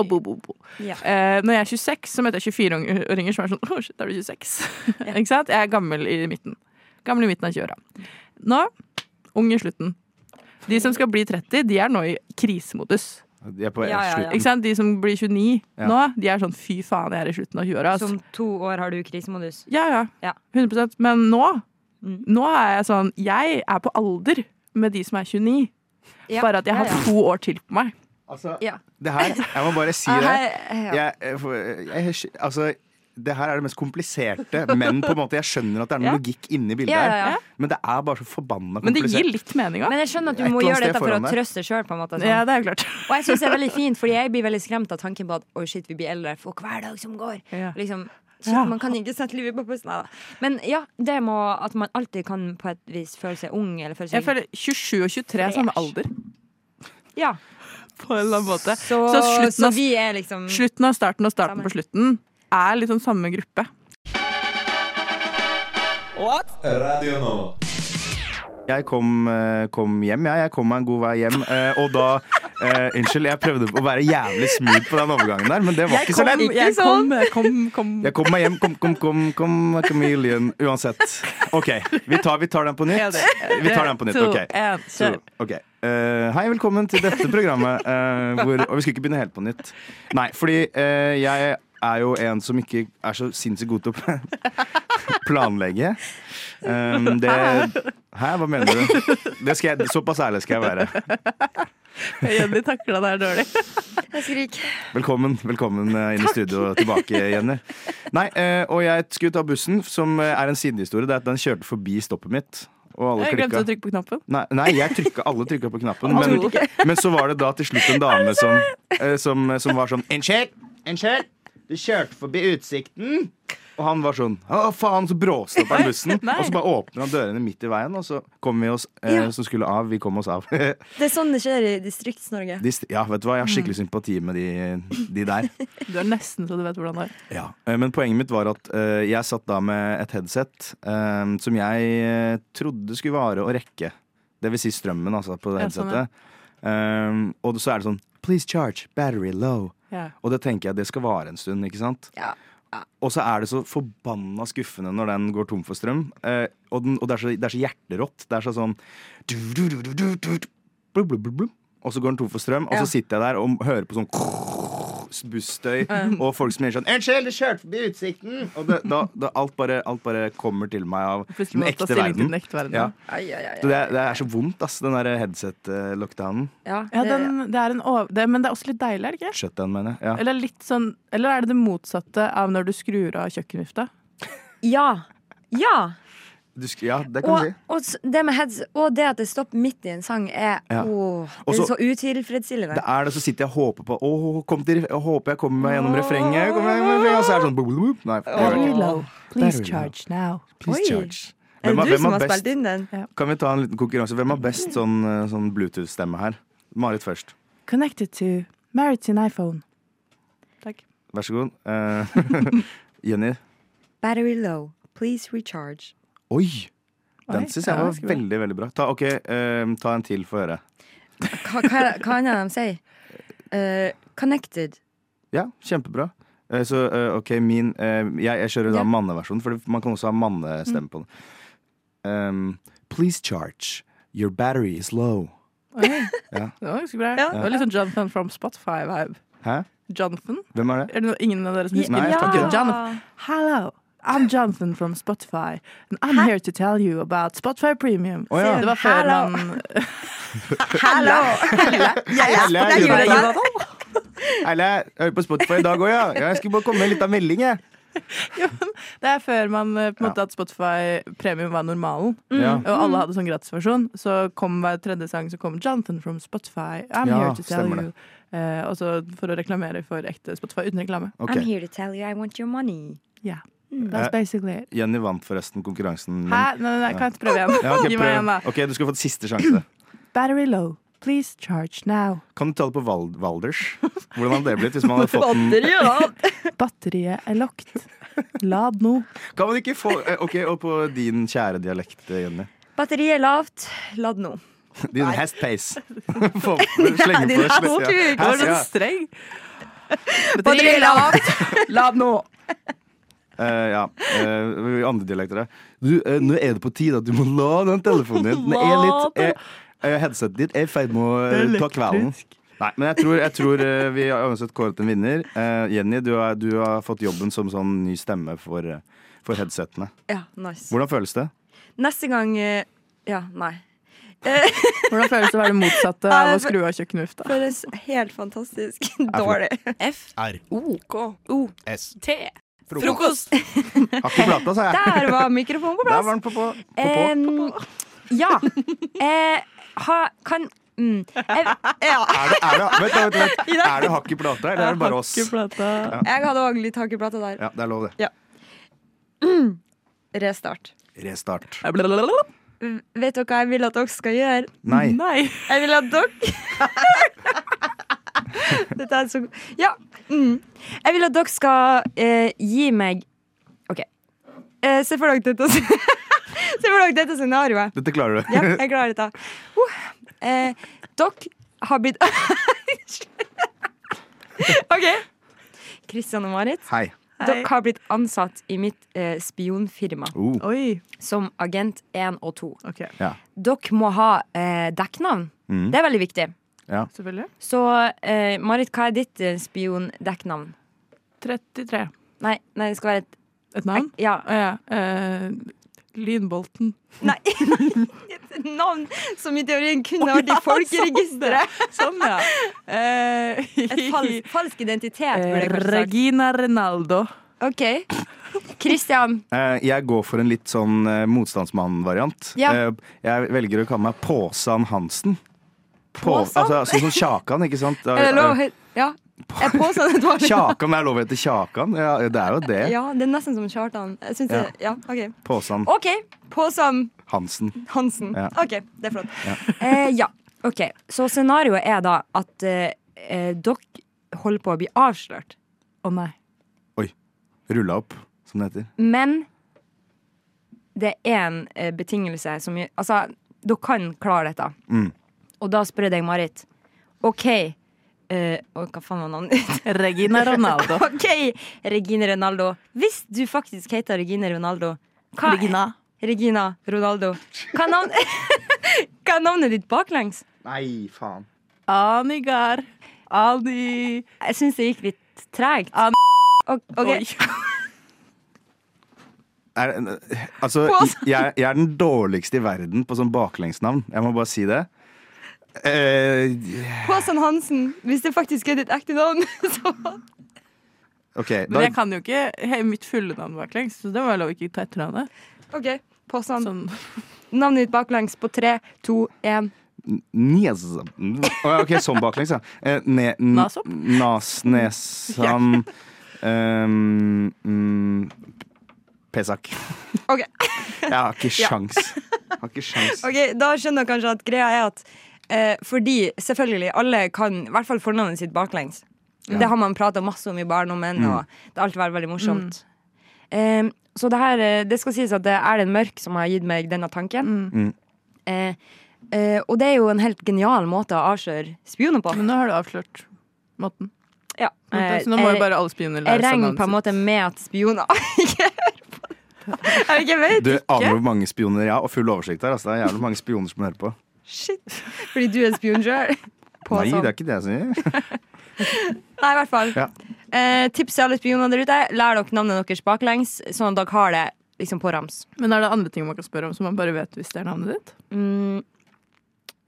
Speaker 19: Å, bo, bo, bo.
Speaker 11: Ja.
Speaker 19: Eh, når jeg er 26, så møter jeg 24-åringer som er sånn Å, shit, er du 26? Ikke sant? Jeg er gammel i midten. Gammel i midten av 20-åra. Nå ung i slutten. De som skal bli 30, de er nå i krisemodus.
Speaker 20: Jeg er på slutten.
Speaker 19: Ikke sant? De som blir 29
Speaker 20: Ja.
Speaker 19: nå, de er sånn fy faen, jeg er i slutten av 20-åra. ass.
Speaker 11: Som to år har du krisemodus.
Speaker 19: Ja, ja, 100 Men nå,
Speaker 11: Mm.
Speaker 19: nå er jeg sånn Jeg er på alder med de som er 29.
Speaker 11: Ja,
Speaker 19: Bare at jeg
Speaker 11: ja,
Speaker 19: har
Speaker 11: ja.
Speaker 19: to år til på meg.
Speaker 11: Ja.
Speaker 20: Det her, jeg må bare si
Speaker 11: Ja,
Speaker 20: det.
Speaker 11: her- ja.
Speaker 20: Jeg, jeg, for- jeg, altså, det her er det mest kompliserte, men på en måte jeg skjønner at det er noe
Speaker 11: Ja.
Speaker 20: logikk inni bildet
Speaker 11: Ja, ja, ja.
Speaker 20: her. Men det er bare så forbanna
Speaker 19: Men det
Speaker 20: komplisert.
Speaker 19: gir litt mening òg.
Speaker 11: Men jeg skjønner at
Speaker 20: Et
Speaker 11: du
Speaker 20: eller
Speaker 11: må
Speaker 20: annet
Speaker 11: gjøre
Speaker 20: sted
Speaker 11: dette for å
Speaker 20: foran der.
Speaker 11: trøste sjøl, på en måte. sånn.
Speaker 19: Ja, det er klart.
Speaker 11: Og jeg syns det er veldig fint, fordi jeg blir veldig skremt av tanken på at oi shit, vi blir eldre for hver dag som går. Liksom, shit,
Speaker 19: Ja.
Speaker 11: Man kan ikke sette livet på pusten. Nei da. Men ja, det må at man alltid kan på et vis føle seg ung. Eller føle seg
Speaker 19: Jeg føler 27 og 23 er samme alder.
Speaker 11: Ja.
Speaker 19: På en eller annen måte.
Speaker 11: Så,
Speaker 19: slutten
Speaker 11: så
Speaker 19: av-
Speaker 11: vi er liksom
Speaker 19: Slutten av starten og starten på slutten er liksom samme gruppe.
Speaker 21: Radio Nova.
Speaker 20: Jeg kom, eh, kom hjem, jeg. Jeg kom meg en god vei hjem. eh, Og da eh, Unnskyld, jeg prøvde å være jævlig smooth på den overgangen der, men det var
Speaker 19: Jeg
Speaker 20: ikke så
Speaker 19: kom-
Speaker 20: lett.
Speaker 19: jeg
Speaker 3: sånn.
Speaker 19: kom-
Speaker 12: sånn.
Speaker 19: jeg kom- kom-
Speaker 20: Jeg kom meg hjem. Kom, kom, kom, kom, chameleon. Uansett. OK, vi tar, vi tar den på nytt. Vi tar den på nytt.
Speaker 19: To,
Speaker 20: OK.
Speaker 19: en,
Speaker 20: Så,
Speaker 19: kjør.
Speaker 20: ok. Eh, hei, velkommen til dette programmet. eh, hvor, og vi skulle ikke begynne helt på nytt. Nei, fordi eh, jeg er jo en som ikke er så sinnssykt god til å pla- planlegge. Um, det Hæ, hva mener du? Det skal jeg, såpass ærlig skal jeg være.
Speaker 19: Jenny takla det her dårlig.
Speaker 11: Jeg skriker.
Speaker 20: Velkommen velkommen eh, inn i studio og tilbake, Jenny. Nei, eh, og jeg skulle ta bussen, som eh, er en sidehistorie. Det er at den kjørte forbi stoppet mitt. Og alle
Speaker 19: Jeg glemte
Speaker 20: klikka.
Speaker 19: å trykke på knappen.
Speaker 20: Nei, nei jeg trykka, alle trykka på knappen.
Speaker 19: Alle
Speaker 20: Men,
Speaker 19: gjorde
Speaker 20: men så var det da til slutt en dame som, eh, som, som var sånn Unnskyld, unnskyld, du kjørte forbi Utsikten. Og han var sånn Å, faen, så bråstopper han bussen.
Speaker 11: Nei.
Speaker 20: Og så bare åpner han dørene midt i veien, og så kom vi oss eh,
Speaker 11: Ja.
Speaker 20: som skulle av. Vi kom oss av.
Speaker 11: Det er sånn det skjer i Distrikts-Norge.
Speaker 20: De, st- ja, vet du hva, jeg
Speaker 19: Mm.
Speaker 20: har skikkelig sympati med de, de der.
Speaker 19: Du er nesten så du vet hvordan det er.
Speaker 20: Ja, eh, Men poenget mitt var at eh, jeg satt da med et headset eh, som jeg eh, trodde skulle vare å rekke. Det vil si strømmen, altså, på det
Speaker 19: Ja, sånn, ja.
Speaker 20: headsetet. Eh, og så er det sånn Please charge, battery low.
Speaker 19: Ja.
Speaker 20: Og det tenker jeg det skal vare en stund, ikke sant? Og så er det så forbanna skuffende når den går tom for strøm. Eh, og den, og det, er så, det er så hjerterått. Det er så sånn du, du, du, du, du, du, du, blub, blub, blub, blub. Og så går den tom for strøm, og
Speaker 11: Ja.
Speaker 20: så sitter jeg der og hører på sånn busstøy og folk som gjør sånn Unnskyld, du kjørte forbi utsikten! Og det, da, da alt, bare, alt bare kommer til meg av
Speaker 19: Plutselig
Speaker 20: den
Speaker 19: må du
Speaker 20: ekte
Speaker 19: ta stilling til
Speaker 20: verden.
Speaker 19: den ekte verden.
Speaker 20: Ja.
Speaker 11: Ai, ai, ai,
Speaker 20: Så det, er- det er så vondt, ass, den der headset-lockdownen.
Speaker 11: Ja,
Speaker 19: Ja, den, det er en over, det, men det er også litt deilig, er det ikke?
Speaker 20: Shutdown, mener jeg. Ja.
Speaker 19: Eller, litt sånn, eller er det det motsatte av når du skrur av kjøkkenvifta?
Speaker 11: Ja. Ja.
Speaker 20: Du, sk- ja, det kan
Speaker 11: Og,
Speaker 20: du si.
Speaker 11: og s- det med heads, og det at det stopper midt i en sang, er,
Speaker 20: Ja.
Speaker 11: åh,
Speaker 20: Og
Speaker 11: det
Speaker 20: så-
Speaker 11: er så utilfredsstillende.
Speaker 20: Det er det, så sitter jeg og håper på Åh, kom til, jeg håper jeg kommer meg gjennom refrenget. Kommer jeg, gjennom refrenget», og så er det sånn blub, blub, blub. Nei, det gjør jeg ikke.
Speaker 19: Please
Speaker 20: Der er
Speaker 19: charge now.
Speaker 20: Please
Speaker 11: Oi.
Speaker 20: charge. Hvem
Speaker 11: Er det
Speaker 20: har-
Speaker 11: du
Speaker 20: hvem har
Speaker 11: som har
Speaker 20: best-
Speaker 11: spilt inn den?
Speaker 20: Kan vi ta en liten konkurranse? Hvem har best sånn, eh, sånn Bluetooth-stemme her? Marit først.
Speaker 19: Connected to married to an iPhone.
Speaker 20: Vær så god. Eh, Jenny.
Speaker 11: Battery low. Please recharge.
Speaker 20: Oi!
Speaker 11: Oi,
Speaker 20: Den syns jeg
Speaker 11: ja,
Speaker 20: var
Speaker 11: det skulle
Speaker 20: veldig veldig bra. Ta, ok, eh, ta en til, få høre.
Speaker 11: Hva, hva, er det- hva annet de sier? Eh, connected.
Speaker 20: Ja, kjempebra. Eh, så eh, OK, min eh, jeg, jeg kjører da
Speaker 11: Ja.
Speaker 20: manneversjonen, for man kan også ha mannestemme på den. Um, please charge. Your battery is low. Ja.
Speaker 19: Det var ganske bra.
Speaker 20: Ja.
Speaker 19: Det var litt sånn Jonathan from Spotify-vibe.
Speaker 20: Hæ?
Speaker 19: Jonathan?
Speaker 20: Hvem er det?
Speaker 19: Er det noe, ingen av dere som
Speaker 20: Nei,
Speaker 19: husker?
Speaker 20: jeg
Speaker 19: Ok,
Speaker 20: snakker ikke.
Speaker 19: Jonathan. Hello. I'm Jonathan from Spotify, and I'm here to tell you about Spotify Premium.
Speaker 20: Å, ja.
Speaker 19: Det var før
Speaker 20: Hello.
Speaker 19: man
Speaker 11: Hello!
Speaker 20: Helle,
Speaker 19: Det er
Speaker 20: Jonathan.
Speaker 19: julegave.
Speaker 20: Helle, jeg hører på Spotify i dag òg, ja. Ja, Jeg skulle bare komme med en liten melding, jeg.
Speaker 19: Det er før man eh, på en måte at Spotify-premium var normalen.
Speaker 20: Mm. Ja.
Speaker 19: Og alle hadde sånn gratisversjon. Så kom hver tredje sang så kom Jonathan from Spotify. I'm
Speaker 20: Ja,
Speaker 19: here to tell
Speaker 20: stemmer
Speaker 19: you. Eh, og så for å reklamere for ekte Spotify uten reklame.
Speaker 20: Ok.
Speaker 11: I'm here to tell you I want your money.
Speaker 19: Yeah. Mm, That's
Speaker 20: Eh,
Speaker 19: basically it.
Speaker 20: Jenny vant forresten konkurransen. men-
Speaker 19: Hæ? Nei, nei, nei, kan jeg prøve igjen?
Speaker 20: Ja, ok,
Speaker 19: Gi meg
Speaker 20: prøv.
Speaker 19: en, da.
Speaker 20: Ok, Du skal få et siste sjanse.
Speaker 19: Battery low. Please charge now.
Speaker 20: Kan du ta det på val Valders? Hvordan hadde det blitt hvis man hadde fått den?
Speaker 19: Batteriet er locked. Lad nå.
Speaker 20: Kan man ikke få eh, Ok, og på din kjære dialekt, Jenny.
Speaker 11: Batteriet er lavt. Ladd nå.
Speaker 20: Din hast pace. Få- slenge
Speaker 11: din
Speaker 20: på det.
Speaker 11: hast-
Speaker 20: Ja,
Speaker 11: Hvorfor
Speaker 20: hast,
Speaker 11: går den
Speaker 20: ja.
Speaker 19: streng?
Speaker 11: Batteriet er lavt.
Speaker 19: Lad nå.
Speaker 20: Eh, ja. Eh, andre dialekter her. Du, eh, nå er det på tide at du må la den telefonen din Den er litt eh, eh, Headsetet ditt er i ferd med å eh, ta kvelden. Nei, men jeg tror, jeg tror eh, vi har uansett kåret en vinner. Eh, Jenny, du har, du har fått jobben som sånn ny stemme for, eh, for headsetene.
Speaker 11: Ja, nice.
Speaker 20: Hvordan føles det?
Speaker 11: Neste gang eh, Ja, nei.
Speaker 19: Hvordan føles det å være det motsatte av å skru av kjøkkenvifta?
Speaker 11: Føles helt fantastisk dårlig. F.
Speaker 9: R.
Speaker 11: O. K. O.
Speaker 9: S.
Speaker 11: T.
Speaker 9: Frokost.
Speaker 20: Har ikke blata, sa jeg.
Speaker 11: Der var mikrofonen på plass.
Speaker 20: Der var den på på. på, på.
Speaker 11: Em, ja. Eh, ha, kan mm, jeg, ja.
Speaker 20: Er det, er det, vent, da, vent, vent. Er det hakk i plata, eller er det bare oss? Ja.
Speaker 11: Jeg hadde òg litt hakk i plata der.
Speaker 20: ja, det er lov, det.
Speaker 11: Ja. Mm. Restart.
Speaker 20: Restart.
Speaker 11: V- Vet dere hva jeg vil at dere skal gjøre?
Speaker 20: Nei.
Speaker 11: Jeg vil at dere Dette er så god. Ja. Mm. Jeg vil at dere skal eh, gi meg OK. Eh, se for dere dette Se for dere dette scenarioet.
Speaker 20: Dette klarer du.
Speaker 11: Ja, jeg klarer dette. Uh, eh, dere har blitt OK. Kristian og Marit.
Speaker 20: Hei.
Speaker 11: Dere har blitt ansatt i mitt eh, spionfirma.
Speaker 20: Oh.
Speaker 11: Som agent 1 og 2.
Speaker 20: Ja.
Speaker 11: Dere må ha eh, dekknavn.
Speaker 20: Mm.
Speaker 11: Det er veldig viktig.
Speaker 20: Ja.
Speaker 19: Selvfølgelig.
Speaker 11: Så eh, Marit, hva er ditt eh, spiondekknavn?
Speaker 19: 33.
Speaker 11: Nei, nei, det skal være et
Speaker 19: Et navn?
Speaker 11: Ja.
Speaker 19: eh, Lynbolten.
Speaker 11: Nei, et navn som i teorien kunne vært i folkeregisteret.
Speaker 19: Sånn, ja. Eh,
Speaker 11: Et falsk, falsk identitet, burde jeg kanskje sagt.
Speaker 19: Regina Renaldo.
Speaker 11: OK. Christian.
Speaker 20: Eh, jeg går for en litt sånn eh, motstandsmann-variant.
Speaker 11: Ja.
Speaker 20: Eh, jeg velger å kalle meg Påsan Hansen. På,
Speaker 11: Påsan?
Speaker 20: altså, sånn som Kjakan, ikke sant? Eh,
Speaker 11: Er det lov? Ja. Jeg påstår det var
Speaker 20: Kjakan, det er lov å hete Kjakan. Ja, det er jo det.
Speaker 11: Ja, det er nesten som Kjartan. Jeg synes
Speaker 20: Ja.
Speaker 11: det, ja, ok.
Speaker 20: Påsan
Speaker 11: OK. Påsam
Speaker 20: Hansen.
Speaker 11: Hansen.
Speaker 20: Ja.
Speaker 11: OK, det er flott.
Speaker 20: Ja.
Speaker 11: Eh, ja, OK. Så scenarioet er da at eh, eh, dere holder på å bli avslørt.
Speaker 19: Å nei.
Speaker 20: Oi. Rulla opp, som det heter.
Speaker 11: Men det er en eh, betingelse som gjør Altså, dere kan klare dette.
Speaker 20: Mm.
Speaker 11: Og da spør jeg deg, Marit. OK eh, å, Hva faen var navnet ditt?
Speaker 19: Regina Ronaldo.
Speaker 11: OK, Regine Ronaldo. Hvis du faktisk heter Regine Ronaldo hva, Regina. Regina Ronaldo. Hva er navn, hva er navnet ditt baklengs?
Speaker 20: Nei, faen.
Speaker 11: Anigar. Ani Jeg syns det gikk litt tregt. An...
Speaker 20: Er, altså, jeg, jeg er den dårligste i verden på sånn baklengsnavn. Jeg må bare si det. Eh,
Speaker 19: sånn
Speaker 11: Håsan Hansen, hvis det faktisk er ditt ekte navn. Så.
Speaker 20: OK.
Speaker 19: Men
Speaker 20: Da,
Speaker 19: jeg kan jo ikke he, mitt fulle navn baklengs, så det var lov ikke å ta etternavnet.
Speaker 11: OK, Håsan. Navnet ditt baklengs på tre, to, én.
Speaker 20: Nes... Å, OK, sånn baklengs, ja. Eh, ne, n-
Speaker 11: Nasopp?
Speaker 20: Nas, nesan um, mm, Pesak.
Speaker 11: OK.
Speaker 20: Jeg har ikke
Speaker 11: Ja.
Speaker 20: sjans. Jeg Har ikke sjans.
Speaker 11: Ok, Da skjønner jeg kanskje at greia er at eh, Fordi selvfølgelig alle kan i hvert fall fornavnet sitt baklengs.
Speaker 20: Ja.
Speaker 11: Det har man prata masse om i barndommen,
Speaker 20: Mm.
Speaker 11: og det har alltid vært veldig morsomt. Eh, så det her, eh, det skal sies at det er den mørk som har gitt meg denne tanken.
Speaker 20: Mm.
Speaker 11: Eh, eh, og det er jo en helt genial måte å avsløre spioner på. Men
Speaker 19: nå har du avslørt måten.
Speaker 11: Ja. Eh,
Speaker 19: Ok, så nå må jo bare alle spioner lære
Speaker 11: Jeg
Speaker 19: seg
Speaker 11: regner
Speaker 19: navnet
Speaker 11: på en måte med at spioner ikke hører på. Jeg vet ikke.
Speaker 20: Du aner hvor mange spioner jeg har, og full oversikt her. Altså. Det er jævlig mange spioner som hører på.
Speaker 11: Shit. Fordi du er en spion sjøl.
Speaker 20: Nei, det er ikke det jeg sier.
Speaker 11: sånn. Nei, i hvert fall.
Speaker 20: Ja.
Speaker 11: Eh, tips til alle spioner der ute. Lær dere navnet deres baklengs, sånn at dere har det liksom på rams.
Speaker 19: Men er det andre ting man kan spørre om som man bare vet hvis det er navnet ditt?
Speaker 11: Mm.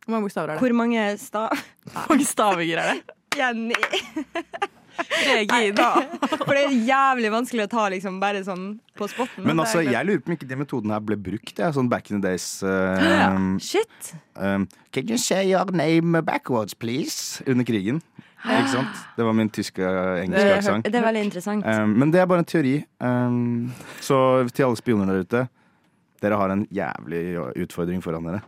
Speaker 19: Hvor mange bokstaver er det?
Speaker 11: Hvor mange stav...
Speaker 19: Hvor mange stavinger er det?
Speaker 11: Jenny.
Speaker 19: Regina.
Speaker 11: For det er jævlig vanskelig å ta liksom bare sånn på spotten.
Speaker 20: Men altså, jeg lurer på om ikke den metoden her ble brukt, jeg, sånn back in the days.
Speaker 11: Ja,
Speaker 20: eh,
Speaker 11: Shit.
Speaker 20: Um, Can you say your name backwards, please? Under krigen. Ikke sant? Det var min tyske eh, engelske aksent.
Speaker 11: Det er veldig interessant.
Speaker 20: Um, men det er bare en teori. Um, så til alle spioner der ute, dere har en jævlig utfordring foran dere.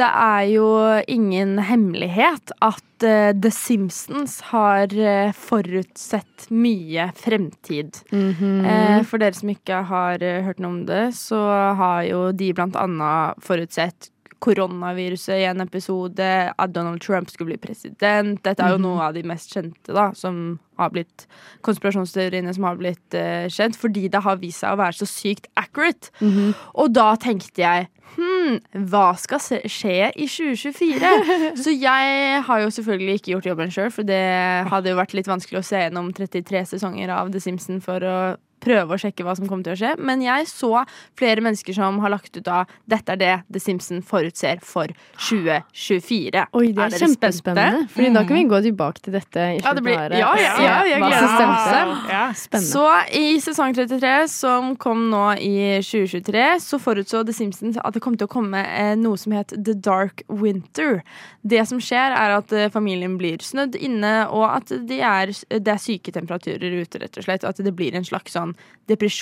Speaker 6: Det er jo ingen hemmelighet at eh, The Simpsons har eh, forutsett mye fremtid. Eh, for dere som ikke har eh, hørt noe om det, så har jo de blant annet forutsett koronaviruset i en episode, at Donald Trump skulle bli president. Dette er jo
Speaker 19: Mhm.
Speaker 6: noe av de mest kjente da, som har blitt konspirasjonsteoriene som har blitt eh, kjent, fordi det har vist seg å være så sykt accurate.
Speaker 4: Mhm.
Speaker 6: Og da tenkte jeg Hm, hva skal se- skje i 2024? Så jeg har jo selvfølgelig ikke gjort jobben sjøl, for det hadde jo vært litt vanskelig å se gjennom 33 sesonger av The Simpsons for å prøve å sjekke hva som kom til å skje. Men jeg så flere mennesker som har lagt ut av dette er det The Simpsons forutser for 2024.
Speaker 4: Oi, det er,
Speaker 6: dere
Speaker 4: kjempespennende.
Speaker 6: spente?
Speaker 4: Fordi da kan vi gå tilbake til dette i
Speaker 6: Ja, det
Speaker 4: slutten av
Speaker 6: blir, ja,
Speaker 4: året.
Speaker 6: ja,
Speaker 4: og se
Speaker 6: ja, jeg
Speaker 4: hva
Speaker 6: gleder
Speaker 4: som
Speaker 6: meg.
Speaker 4: stemte. Spennende.
Speaker 6: Så i sesong 33, som kom nå i 2023, så forutså The Simpsons at det kom til å komme eh, noe som het The Dark Winter. Det som skjer, er at eh, familien blir snødd inne, og at de er, det er syke temperaturer ute, rett og slett. At det blir en slags sånn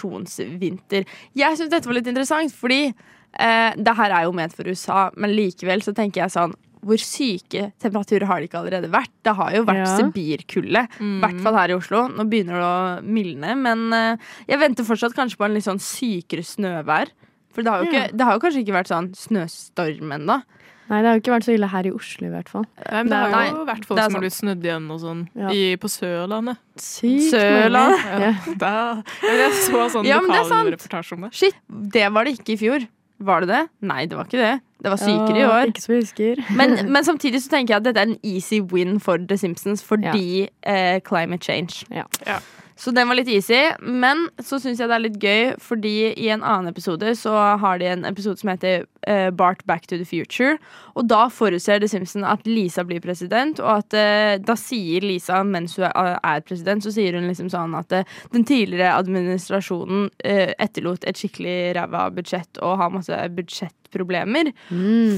Speaker 6: depresjonsvinter. Jeg syns dette var litt interessant, fordi eh, det her er jo ment for USA, men likevel så tenker jeg sånn hvor syke temperaturer har det ikke allerede vært? Det har jo vært
Speaker 4: Ja. Mm.
Speaker 6: sibirkulde. I hvert fall her i Oslo. Nå begynner det å mildne, men eh, jeg venter fortsatt kanskje på en litt sånn sykere snøvær. For det har
Speaker 4: Ja.
Speaker 6: jo, ikke, det har jo kanskje ikke vært sånn snøstorm ennå.
Speaker 4: Nei, det har jo ikke vært så ille her i Oslo, i hvert fall.
Speaker 6: Nei,
Speaker 22: Men det har
Speaker 6: Nei,
Speaker 22: jo vært
Speaker 6: det er
Speaker 22: folk som har
Speaker 6: sant.
Speaker 22: blitt snudd igjen og sånn.
Speaker 4: Ja.
Speaker 22: I, på Sørlandet.
Speaker 4: Sykt
Speaker 6: Sørlandet.
Speaker 4: mange. Ja.
Speaker 22: Da, jeg, jeg så sånn
Speaker 6: Ja, men det er sant.
Speaker 22: lokal reportasje om det.
Speaker 6: Shit, det var det ikke i fjor. Var det det? Nei, det var ikke det. Det var sykere i
Speaker 4: Ja,
Speaker 6: år.
Speaker 4: Ikke som jeg husker.
Speaker 6: Men, men samtidig så tenker jeg at dette er en easy win for The Simpsons fordi eh, climate change. Så den var litt easy, men så syns jeg det er litt gøy, fordi i en annen episode så har de en episode som heter eh, Bart Back to the Future. Og da forutser The Simpsons at Lisa blir president, og at eh, da sier Lisa, mens hun er eh, er president, så sier hun liksom sånn at eh, den tidligere administrasjonen eh, etterlot et skikkelig ræva budsjett og har masse budsjettproblemer.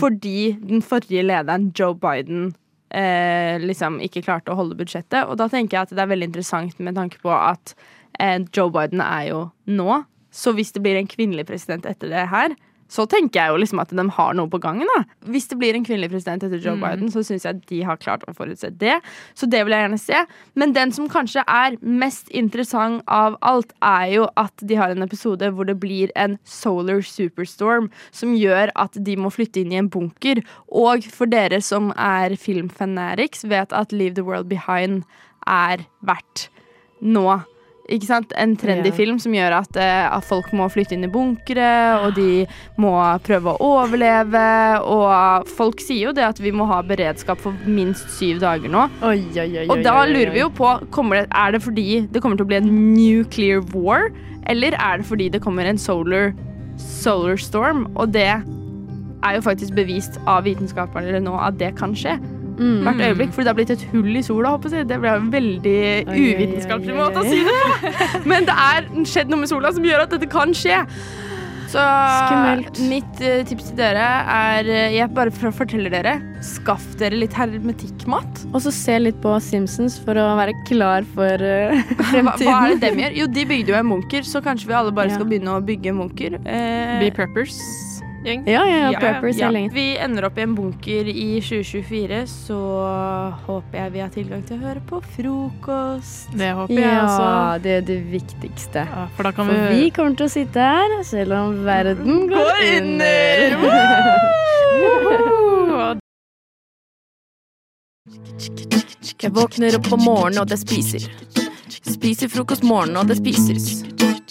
Speaker 6: Fordi den forrige lederen, Joe Biden, eh, liksom ikke klarte å holde budsjettet. Og da tenker jeg at det er veldig interessant med tanke på at eh, Joe Biden er jo nå. Så hvis det blir en kvinnelig president etter det her, så tenker jeg jo liksom at de har noe på gangen. da. Hvis det blir en kvinnelig president etter Joe
Speaker 11: Mm.
Speaker 6: Biden, så syns jeg de har klart å forutse det. Så det vil jeg gjerne se. Men den som kanskje er mest interessant av alt, er jo at de har en episode hvor det blir en solar superstorm som gjør at de må flytte inn i en bunker. Og for dere som er filmfanatics, vet at Leave the World Behind er verdt nå. Ikke sant? En trendy
Speaker 11: Ja.
Speaker 6: film som gjør at, eh, at folk må flytte inn i bunkere, og de må prøve å overleve. Og folk sier jo det at vi må ha beredskap for minst syv dager nå. og da
Speaker 4: oi, oi,
Speaker 6: lurer vi jo på kommer det, Er det fordi det kommer til å bli en nuclear war, eller er det fordi det kommer en solar, solar storm? Og det er jo faktisk bevist av vitenskaperne nå at det kan skje.
Speaker 4: Mm.
Speaker 6: Hvert øyeblikk, fordi det har blitt et hull i sola. håper jeg. Det ble en veldig uvitenskapelig måte å si det på. Men det er skjedd noe med sola som gjør at dette kan skje. Så
Speaker 4: Skummelt.
Speaker 6: mitt eh, tips til dere er eh, Jeg bare for- forteller dere skaff dere litt hermetikkmat.
Speaker 4: Og så se litt på Simpsons for å være klar for eh,
Speaker 6: Hva,
Speaker 4: fremtiden.
Speaker 6: hva er det dem gjør? Jo, de bygde jo en munker, så kanskje vi alle bare
Speaker 4: Ja.
Speaker 6: skal begynne å bygge munker. Eh,
Speaker 19: Be preppers.
Speaker 6: gjeng.
Speaker 4: Ja, ja, ja, preppers hele gjengen.
Speaker 6: Vi ender opp i en bunker i 2024, så håper jeg vi har tilgang til å høre på frokost.
Speaker 19: Det håper jeg
Speaker 6: altså.
Speaker 4: Ja,
Speaker 19: også.
Speaker 4: det er det viktigste.
Speaker 19: for da kan
Speaker 4: for
Speaker 19: vi-
Speaker 4: vi kommer til å sitte her selv om verden går
Speaker 19: Går
Speaker 4: under.
Speaker 2: Jeg våkner opp om morgenen, og det spiser. Spiser frokost morgenen, og det spises.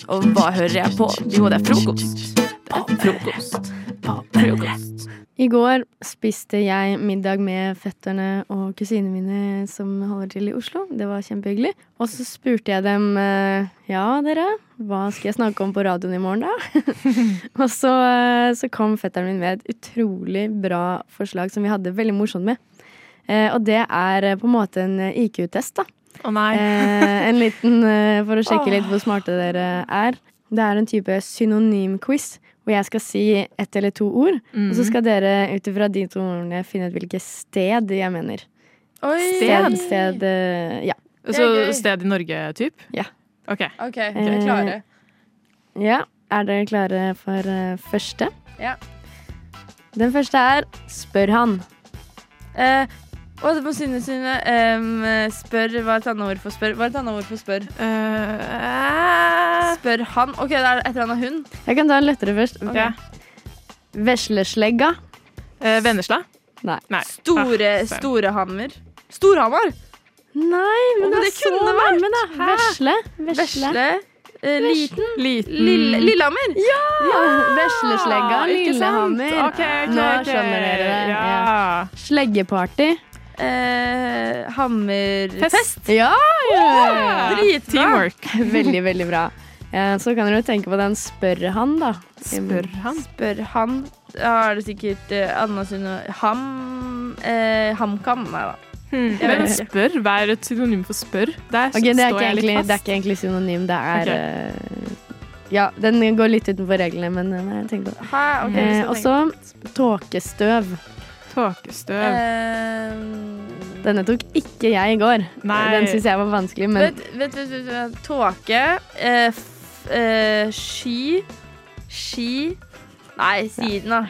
Speaker 2: Og hva hører jeg på? Jo, det er frokost. På frokost. På frokost.
Speaker 4: I går spiste jeg middag med fetterne og kusinene mine som holder til i Oslo. Det var kjempehyggelig. Og så spurte jeg dem eh, ja, dere, hva skal jeg snakke om på radioen i morgen, da? og så, eh, så kom fetteren min med et utrolig bra forslag som vi hadde veldig morsomt med. Eh, Og det er eh, på en måte en IQ-test, da.
Speaker 22: Å nei.
Speaker 4: Eh, en liten eh, for å sjekke litt
Speaker 22: Åh.
Speaker 4: hvor smarte dere er. Det er en type synonymquiz hvor jeg skal si ett eller to ord. Og så
Speaker 22: Mhm.
Speaker 4: skal dere ut ifra de to ordene finne ut hvilket sted jeg mener.
Speaker 22: Oi.
Speaker 4: Sted, sted eh, Ja.
Speaker 22: Så
Speaker 19: sted i Norge-typ?
Speaker 4: Ja.
Speaker 19: OK.
Speaker 6: okay
Speaker 4: vi er klare. Eh, ja. Er dere klare for eh, første?
Speaker 6: Ja.
Speaker 4: Den første er Spør han.
Speaker 6: Eh, og det må Synne Synne em, spør Hva er et annet ord for spør? Hva er et annet ord for spør?
Speaker 19: Eh,
Speaker 6: spør han. OK, det er et eller annet hund.
Speaker 4: Ah. Jeg kan ta en lettere først.
Speaker 6: Ok.
Speaker 4: Vesleslegga.
Speaker 19: eh, Vennesla?
Speaker 4: Nei.
Speaker 6: Store,
Speaker 4: Ah, stemmer.
Speaker 6: Storehammer. Storhamar!
Speaker 4: Nei, men det,
Speaker 6: Å, men
Speaker 4: er
Speaker 6: det
Speaker 4: så
Speaker 6: kunne vært.
Speaker 4: nærme, da.
Speaker 6: Hæ?
Speaker 4: Vesle.
Speaker 6: Vesle. Eh, liten.
Speaker 19: Liten.
Speaker 6: Lille, Lillehammer.
Speaker 4: Ja! Vesleslegga,
Speaker 6: ikke sant?
Speaker 4: Lillehammer.
Speaker 6: Ok, ok,
Speaker 4: Nå
Speaker 6: ok.
Speaker 4: skjønner dere det.
Speaker 6: Ja.
Speaker 4: Sleggeparty.
Speaker 6: Eh, hammerfest.
Speaker 4: Ja, ja,
Speaker 6: Ja, dritbra. Teamwork.
Speaker 4: veldig, veldig bra. Eh, Så kan dere jo tenke på den spør han, da. Spør
Speaker 6: han? Spør han. Da er det sikkert eh, Anna Synne Ham... Eh, HamKam. Nei da. Jeg
Speaker 19: Men
Speaker 6: vet ikke.
Speaker 19: Hmm. spør, hva er et synonym for spør? Der
Speaker 4: Ok, det, er
Speaker 19: står
Speaker 4: ikke
Speaker 19: jeg litt
Speaker 4: egentlig,
Speaker 19: fast.
Speaker 4: det er ikke egentlig synonym. Det er eh, Ja, den går litt utenfor reglene, men eh, jeg tenkte på det.
Speaker 6: Hæ, ok, vi
Speaker 4: Eh,
Speaker 6: skal
Speaker 4: Og så tåkestøv.
Speaker 19: Tåkestøv.
Speaker 3: Eh,
Speaker 6: Eh,
Speaker 4: Denne tok ikke jeg i går.
Speaker 6: Nei.
Speaker 4: Den syns jeg var vanskelig, men
Speaker 6: Vent, vent, vent, vent, vent. Tåke. Eh, f, eh, sky. Ski. Nei, siden, da.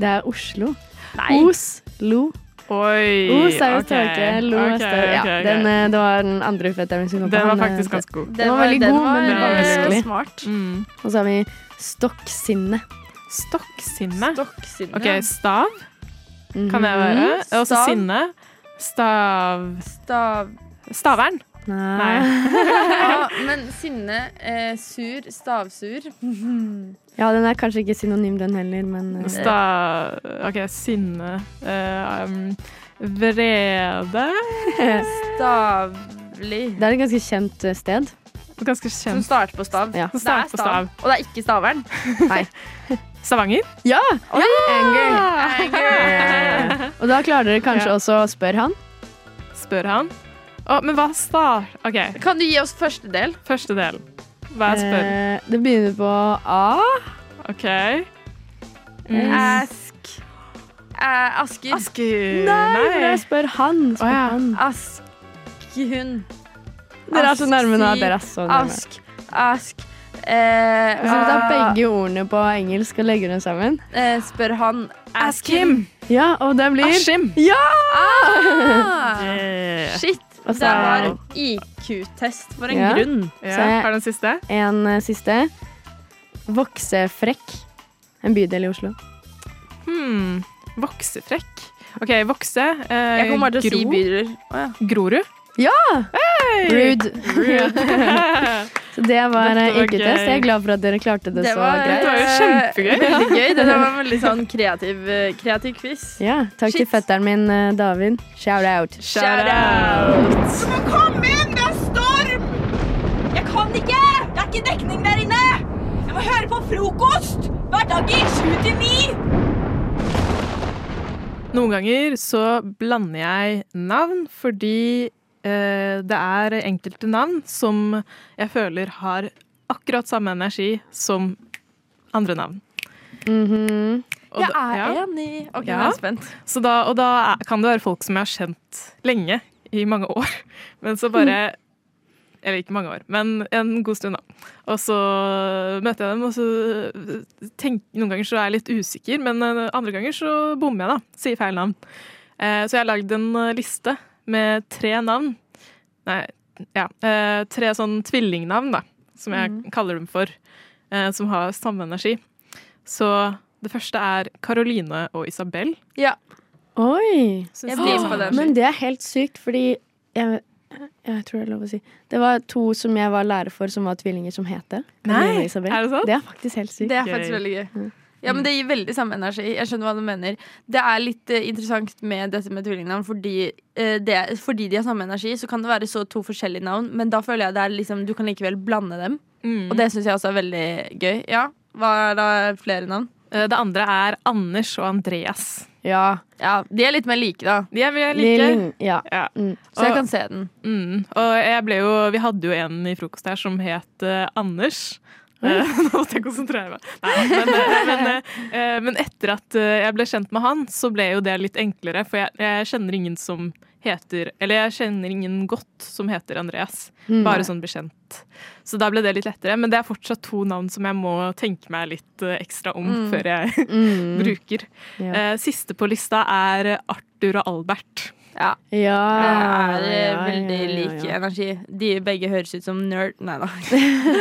Speaker 4: det er Oslo.
Speaker 6: Nei.
Speaker 4: Oslo.
Speaker 19: Oi.
Speaker 3: Oh,
Speaker 4: Os er jo
Speaker 19: ok.
Speaker 4: tåke, lo er
Speaker 19: Ok,
Speaker 4: støv. Ja,
Speaker 19: ok, ok.
Speaker 4: den, eh, det var den andre fetteren som kom på.
Speaker 19: Den var
Speaker 4: Han, eh,
Speaker 19: faktisk ganske god.
Speaker 4: Den,
Speaker 19: Mm. Den
Speaker 4: var
Speaker 19: var-
Speaker 4: veldig
Speaker 19: den
Speaker 4: god, men
Speaker 19: var,
Speaker 4: den var
Speaker 19: eh,
Speaker 4: vanskelig.
Speaker 6: smart.
Speaker 4: Og så har vi stokksinne.
Speaker 19: Stokksinne?
Speaker 6: Stokksinne.
Speaker 19: OK, stav kan det være. Og
Speaker 4: Mhm.
Speaker 19: så
Speaker 6: Stav.
Speaker 19: sinne. Stav...
Speaker 6: Stav...
Speaker 19: Stavern.
Speaker 4: Nei.
Speaker 6: Ja, men sinne, eh, sur, stavsur.
Speaker 4: Ja, den er kanskje ikke synonym, den heller, men eh,
Speaker 22: Sta... OK, sinne. Eh, um, vrede.
Speaker 8: Stavlig.
Speaker 4: Det er et ganske kjent eh, sted.
Speaker 22: Ganske kjent.
Speaker 8: Som starter på stav.
Speaker 4: Ja.
Speaker 8: Det er
Speaker 22: Starter på stav.
Speaker 8: Og det er ikke Stavern.
Speaker 4: Nei.
Speaker 22: Stavanger?
Speaker 4: Ja!
Speaker 8: Anger.
Speaker 4: Og da klarer dere kanskje også å spørre han.
Speaker 22: Spør han. Å, men hva star... OK,
Speaker 6: Kan du gi oss første del?
Speaker 22: første del. Hva er spør?
Speaker 4: Eh, det begynner på A.
Speaker 22: OK.
Speaker 4: Mm.
Speaker 6: Ask. Eh, Asker.
Speaker 22: Asker.
Speaker 4: Nei, men jeg spør han. Spør han.
Speaker 6: Askhund.
Speaker 4: Dere er så nærme nå. Dere er så nærme.
Speaker 6: Ask. Ask. Eh,
Speaker 4: Så du tar
Speaker 6: ah,
Speaker 4: begge ordene på engelsk og legger dem sammen?
Speaker 6: eh, spør han
Speaker 4: Ask him. Ja, og det blir
Speaker 22: Askim.
Speaker 4: Ja! Ah!
Speaker 22: Yeah.
Speaker 6: Shit.
Speaker 4: Og så-
Speaker 6: det var IQ-test for en
Speaker 4: Ja.
Speaker 6: grunn.
Speaker 4: Så jeg-
Speaker 22: Har du en siste?
Speaker 4: En eh, siste. Voksefrekk. En bydel i Oslo.
Speaker 22: Hmm. Voksefrekk. OK, vokse. Eh,
Speaker 4: Jeg kommer bare til å si
Speaker 22: bydeler. Grorud.
Speaker 4: Ja! Rude.
Speaker 22: Rude.
Speaker 4: så det var
Speaker 22: Dette
Speaker 4: eh,
Speaker 22: var
Speaker 4: IQ-test. Jeg er glad for at dere klarte det, så greit.
Speaker 6: det var jo
Speaker 22: kjempegøy.
Speaker 6: Veldig gøy. Det der var en veldig sånn kreativ, eh, kreativ quiz.
Speaker 4: Ja, takk til fetteren min, eh, David. Shout out.
Speaker 6: Shout out.
Speaker 1: Du må komme inn! Det er storm! Jeg kan ikke! Det er ikke dekning der inne! Jeg må høre på frokost! Hverdager sju til ni!
Speaker 22: Noen ganger så blander jeg navn fordi eh, det er enkelte navn som jeg føler har akkurat samme energi som andre navn. Og
Speaker 6: Jeg
Speaker 22: da-
Speaker 6: er
Speaker 22: ja.
Speaker 6: enig. Ok,
Speaker 22: Ja.
Speaker 6: nå er jeg spent.
Speaker 22: Så da, og da er- kan det være folk som jeg har kjent lenge, i mange år, men så bare Eller ikke mange år, men en god stund, da. Og så møter jeg dem, og så eh, tenk, Noen ganger så er jeg litt usikker, men eh, andre ganger så bommer jeg, da. Sier feil navn. Eh, Så jeg har lagd en eh, liste med tre navn. Nei, ja. eh, Tre sånn tvillingnavn, da, som jeg kaller dem for. eh, Som har samme energi. Så det første er Caroline og Isabel.
Speaker 6: Ja.
Speaker 4: Oi!
Speaker 22: Så Jeg blir på den.
Speaker 4: Men det er helt sykt, fordi jeg, jeg tror det er lov å si Det var to som jeg var lærer for, som var tvillinger, som het det. Caroline og Isabel.
Speaker 6: Er det sant?
Speaker 4: Det er faktisk helt sykt.
Speaker 6: Det er faktisk veldig gøy. Ja, men Det gir veldig samme energi. Jeg skjønner hva du mener. Det er litt eh, interessant med dette med tvillingnavn. Fordi, eh, det, fordi de har samme energi, så kan det være så to forskjellige navn. Men da føler jeg det er liksom, du kan likevel blande dem.
Speaker 22: Mm.
Speaker 6: Og det syns jeg også er veldig gøy. Ja, Hva er da flere navn?
Speaker 22: Eh, Det andre er Anders og Andreas.
Speaker 4: Ja.
Speaker 6: De er litt mer like, da.
Speaker 22: De er mer like. Lilling,
Speaker 4: Ja.
Speaker 6: Så jeg
Speaker 22: Og-
Speaker 6: kan se den.
Speaker 22: Mm. Og jeg ble jo, vi hadde jo en i frokost her som het eh, Anders. Eh, Nå måtte jeg konsentrere meg. Nei, men, eh, men, eh, eh, men etter at eh, jeg ble kjent med han, så ble jo det litt enklere. For jeg, jeg kjenner ingen som heter Eller jeg kjenner ingen godt som heter Andreas.
Speaker 8: Mm.
Speaker 22: Bare sånn bekjent. Så da ble det litt lettere. Men det er fortsatt to navn som jeg må tenke meg litt eh, ekstra om
Speaker 8: Mm.
Speaker 22: før jeg
Speaker 8: Mm.
Speaker 22: bruker.
Speaker 8: Ja.
Speaker 22: Eh, Siste på lista er Arthur og Albert.
Speaker 6: Ja.
Speaker 22: Ah, Ja,
Speaker 6: det er eh,
Speaker 22: ja,
Speaker 6: veldig
Speaker 22: ja, ja,
Speaker 6: lik
Speaker 22: ja.
Speaker 6: energi. De begge høres ut som nerd. Nei da.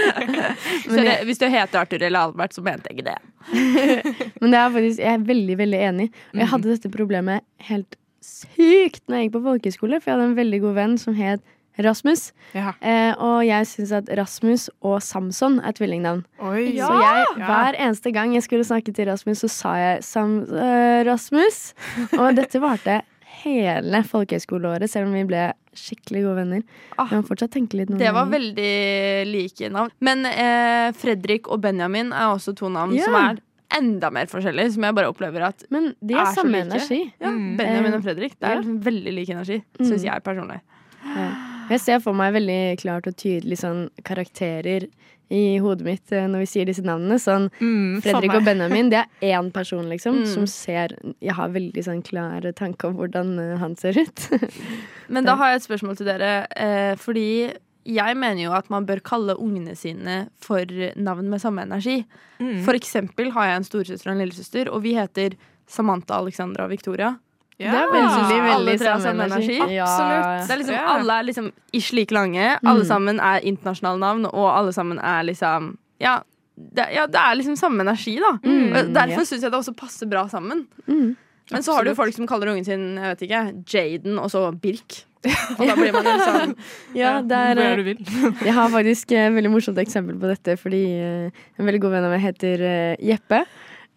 Speaker 6: så
Speaker 4: Men
Speaker 6: det,
Speaker 4: jeg-
Speaker 6: hvis du heter Arthur eller Albert, så mente jeg ikke det.
Speaker 4: Men det er faktisk, jeg er veldig veldig enig. Og jeg
Speaker 6: Mm.
Speaker 4: hadde dette problemet helt sykt når jeg gikk på folkehøyskole, for jeg hadde en veldig god venn som het Rasmus.
Speaker 22: Ja.
Speaker 4: Eh, og jeg syns at Rasmus og Samson er tvillingnavn.
Speaker 22: Oi.
Speaker 4: Så jeg,
Speaker 22: Ja.
Speaker 4: hver eneste gang jeg skulle snakke til Rasmus, så sa jeg Sam eh, Rasmus. Og dette varte hele folkehøyskoleåret, selv om vi ble skikkelig gode venner. Jeg må fortsatt tenke litt noen
Speaker 6: Ah. Det var
Speaker 4: ganger.
Speaker 6: veldig like navn. Men eh, Fredrik og Benjamin er også to navn
Speaker 4: Ja.
Speaker 6: som er enda mer forskjellige, som jeg bare opplever at
Speaker 4: Men de har samme energi.
Speaker 6: Ja,
Speaker 4: Mm.
Speaker 6: Benjamin
Speaker 4: Eh,
Speaker 6: og Fredrik. Det er veldig lik energi, syns jeg personlig.
Speaker 4: Ja. Jeg ser for meg veldig klart og tydelig sånn karakterer i hodet mitt eh, når vi sier disse navnene. Sånn
Speaker 22: Mm,
Speaker 4: Fredrik
Speaker 22: samme.
Speaker 4: og Benjamin, det er én person, liksom,
Speaker 6: Mm.
Speaker 4: som ser Jeg har veldig sånn klar tanke om hvordan eh, han ser ut.
Speaker 6: Men da har jeg et spørsmål til dere. Eh, fordi jeg mener jo at man bør kalle ungene sine for navn med samme energi.
Speaker 4: Mm.
Speaker 6: For eksempel har jeg en storesøster og en lillesøster, og vi heter Samantha, Alexandra og Victoria.
Speaker 4: Ja. Det er veldig,
Speaker 6: Jeg synes
Speaker 4: veldig
Speaker 6: alle tre har
Speaker 4: samme
Speaker 6: samme energi.
Speaker 4: energi. Ja.
Speaker 6: Absolutt. Det er liksom,
Speaker 4: Ja.
Speaker 6: alle er liksom ish like lange. Alle
Speaker 4: Mm.
Speaker 6: sammen er internasjonale navn, og alle sammen er liksom Ja, det, ja, det er liksom samme energi, da.
Speaker 4: Mm,
Speaker 6: Og Derfor
Speaker 4: ja.
Speaker 6: syns jeg det også passer bra sammen.
Speaker 4: Mm.
Speaker 6: Men så har du jo
Speaker 4: Absolutt.
Speaker 6: folk som kaller ungen sin jeg vet ikke, Jaden og så Birk.
Speaker 12: Og da blir man jo sånn
Speaker 4: Ja, det er, eh,
Speaker 12: Hvor er det du vil?
Speaker 4: jeg har faktisk eh, et veldig morsomt eksempel på dette, fordi eh, en veldig god venn av meg heter eh, Jeppe.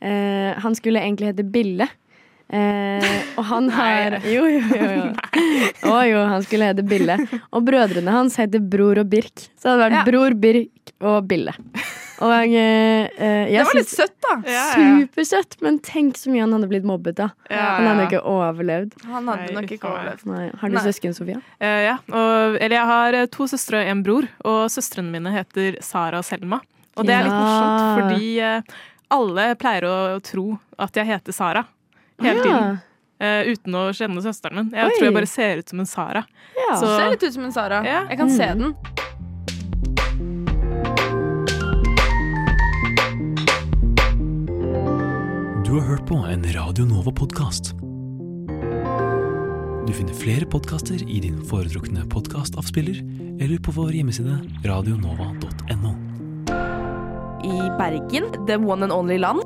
Speaker 4: Eh, han skulle egentlig hete Bille. Eh, og han har Jo, jo, jo. jo. Å jo, han skulle hete Bille. Og brødrene hans heter Bror og Birk. Så det hadde vært
Speaker 6: Ja.
Speaker 4: Bror, Birk og Bille. Og eh, eh, jeg
Speaker 6: Det var litt
Speaker 4: syns-
Speaker 6: søtt, da. Ja, ja.
Speaker 4: Supersøtt, men tenk så mye han hadde blitt mobbet da.
Speaker 22: Ja,
Speaker 4: Han hadde
Speaker 22: ja.
Speaker 4: ikke overlevd.
Speaker 22: Han hadde nok ikke overlevd.
Speaker 4: Nei. Har du
Speaker 22: Nei.
Speaker 4: søsken, Sofia?
Speaker 22: Eh, ja. Og, eller jeg har eh, to søstre og en bror, og søstrene mine heter Sara og Selma. Og det er litt
Speaker 4: Ja.
Speaker 22: morsomt, fordi eh, alle pleier å tro at jeg heter Sara hele
Speaker 6: Ja.
Speaker 22: tiden. eh, uten å kjenne søsteren min. Jeg
Speaker 6: Oi.
Speaker 22: tror jeg bare ser ut som en Sara.
Speaker 6: Ja. Mm.
Speaker 22: Så-
Speaker 6: Ser litt ut som en Sara. Jeg kan se den.
Speaker 5: Du har hørt på en Radio Nova-podkast. Du finner flere podkaster i din foretrukne podkastavspiller eller på vår hjemmeside radionova.no.
Speaker 6: I Bergen, the one and only land,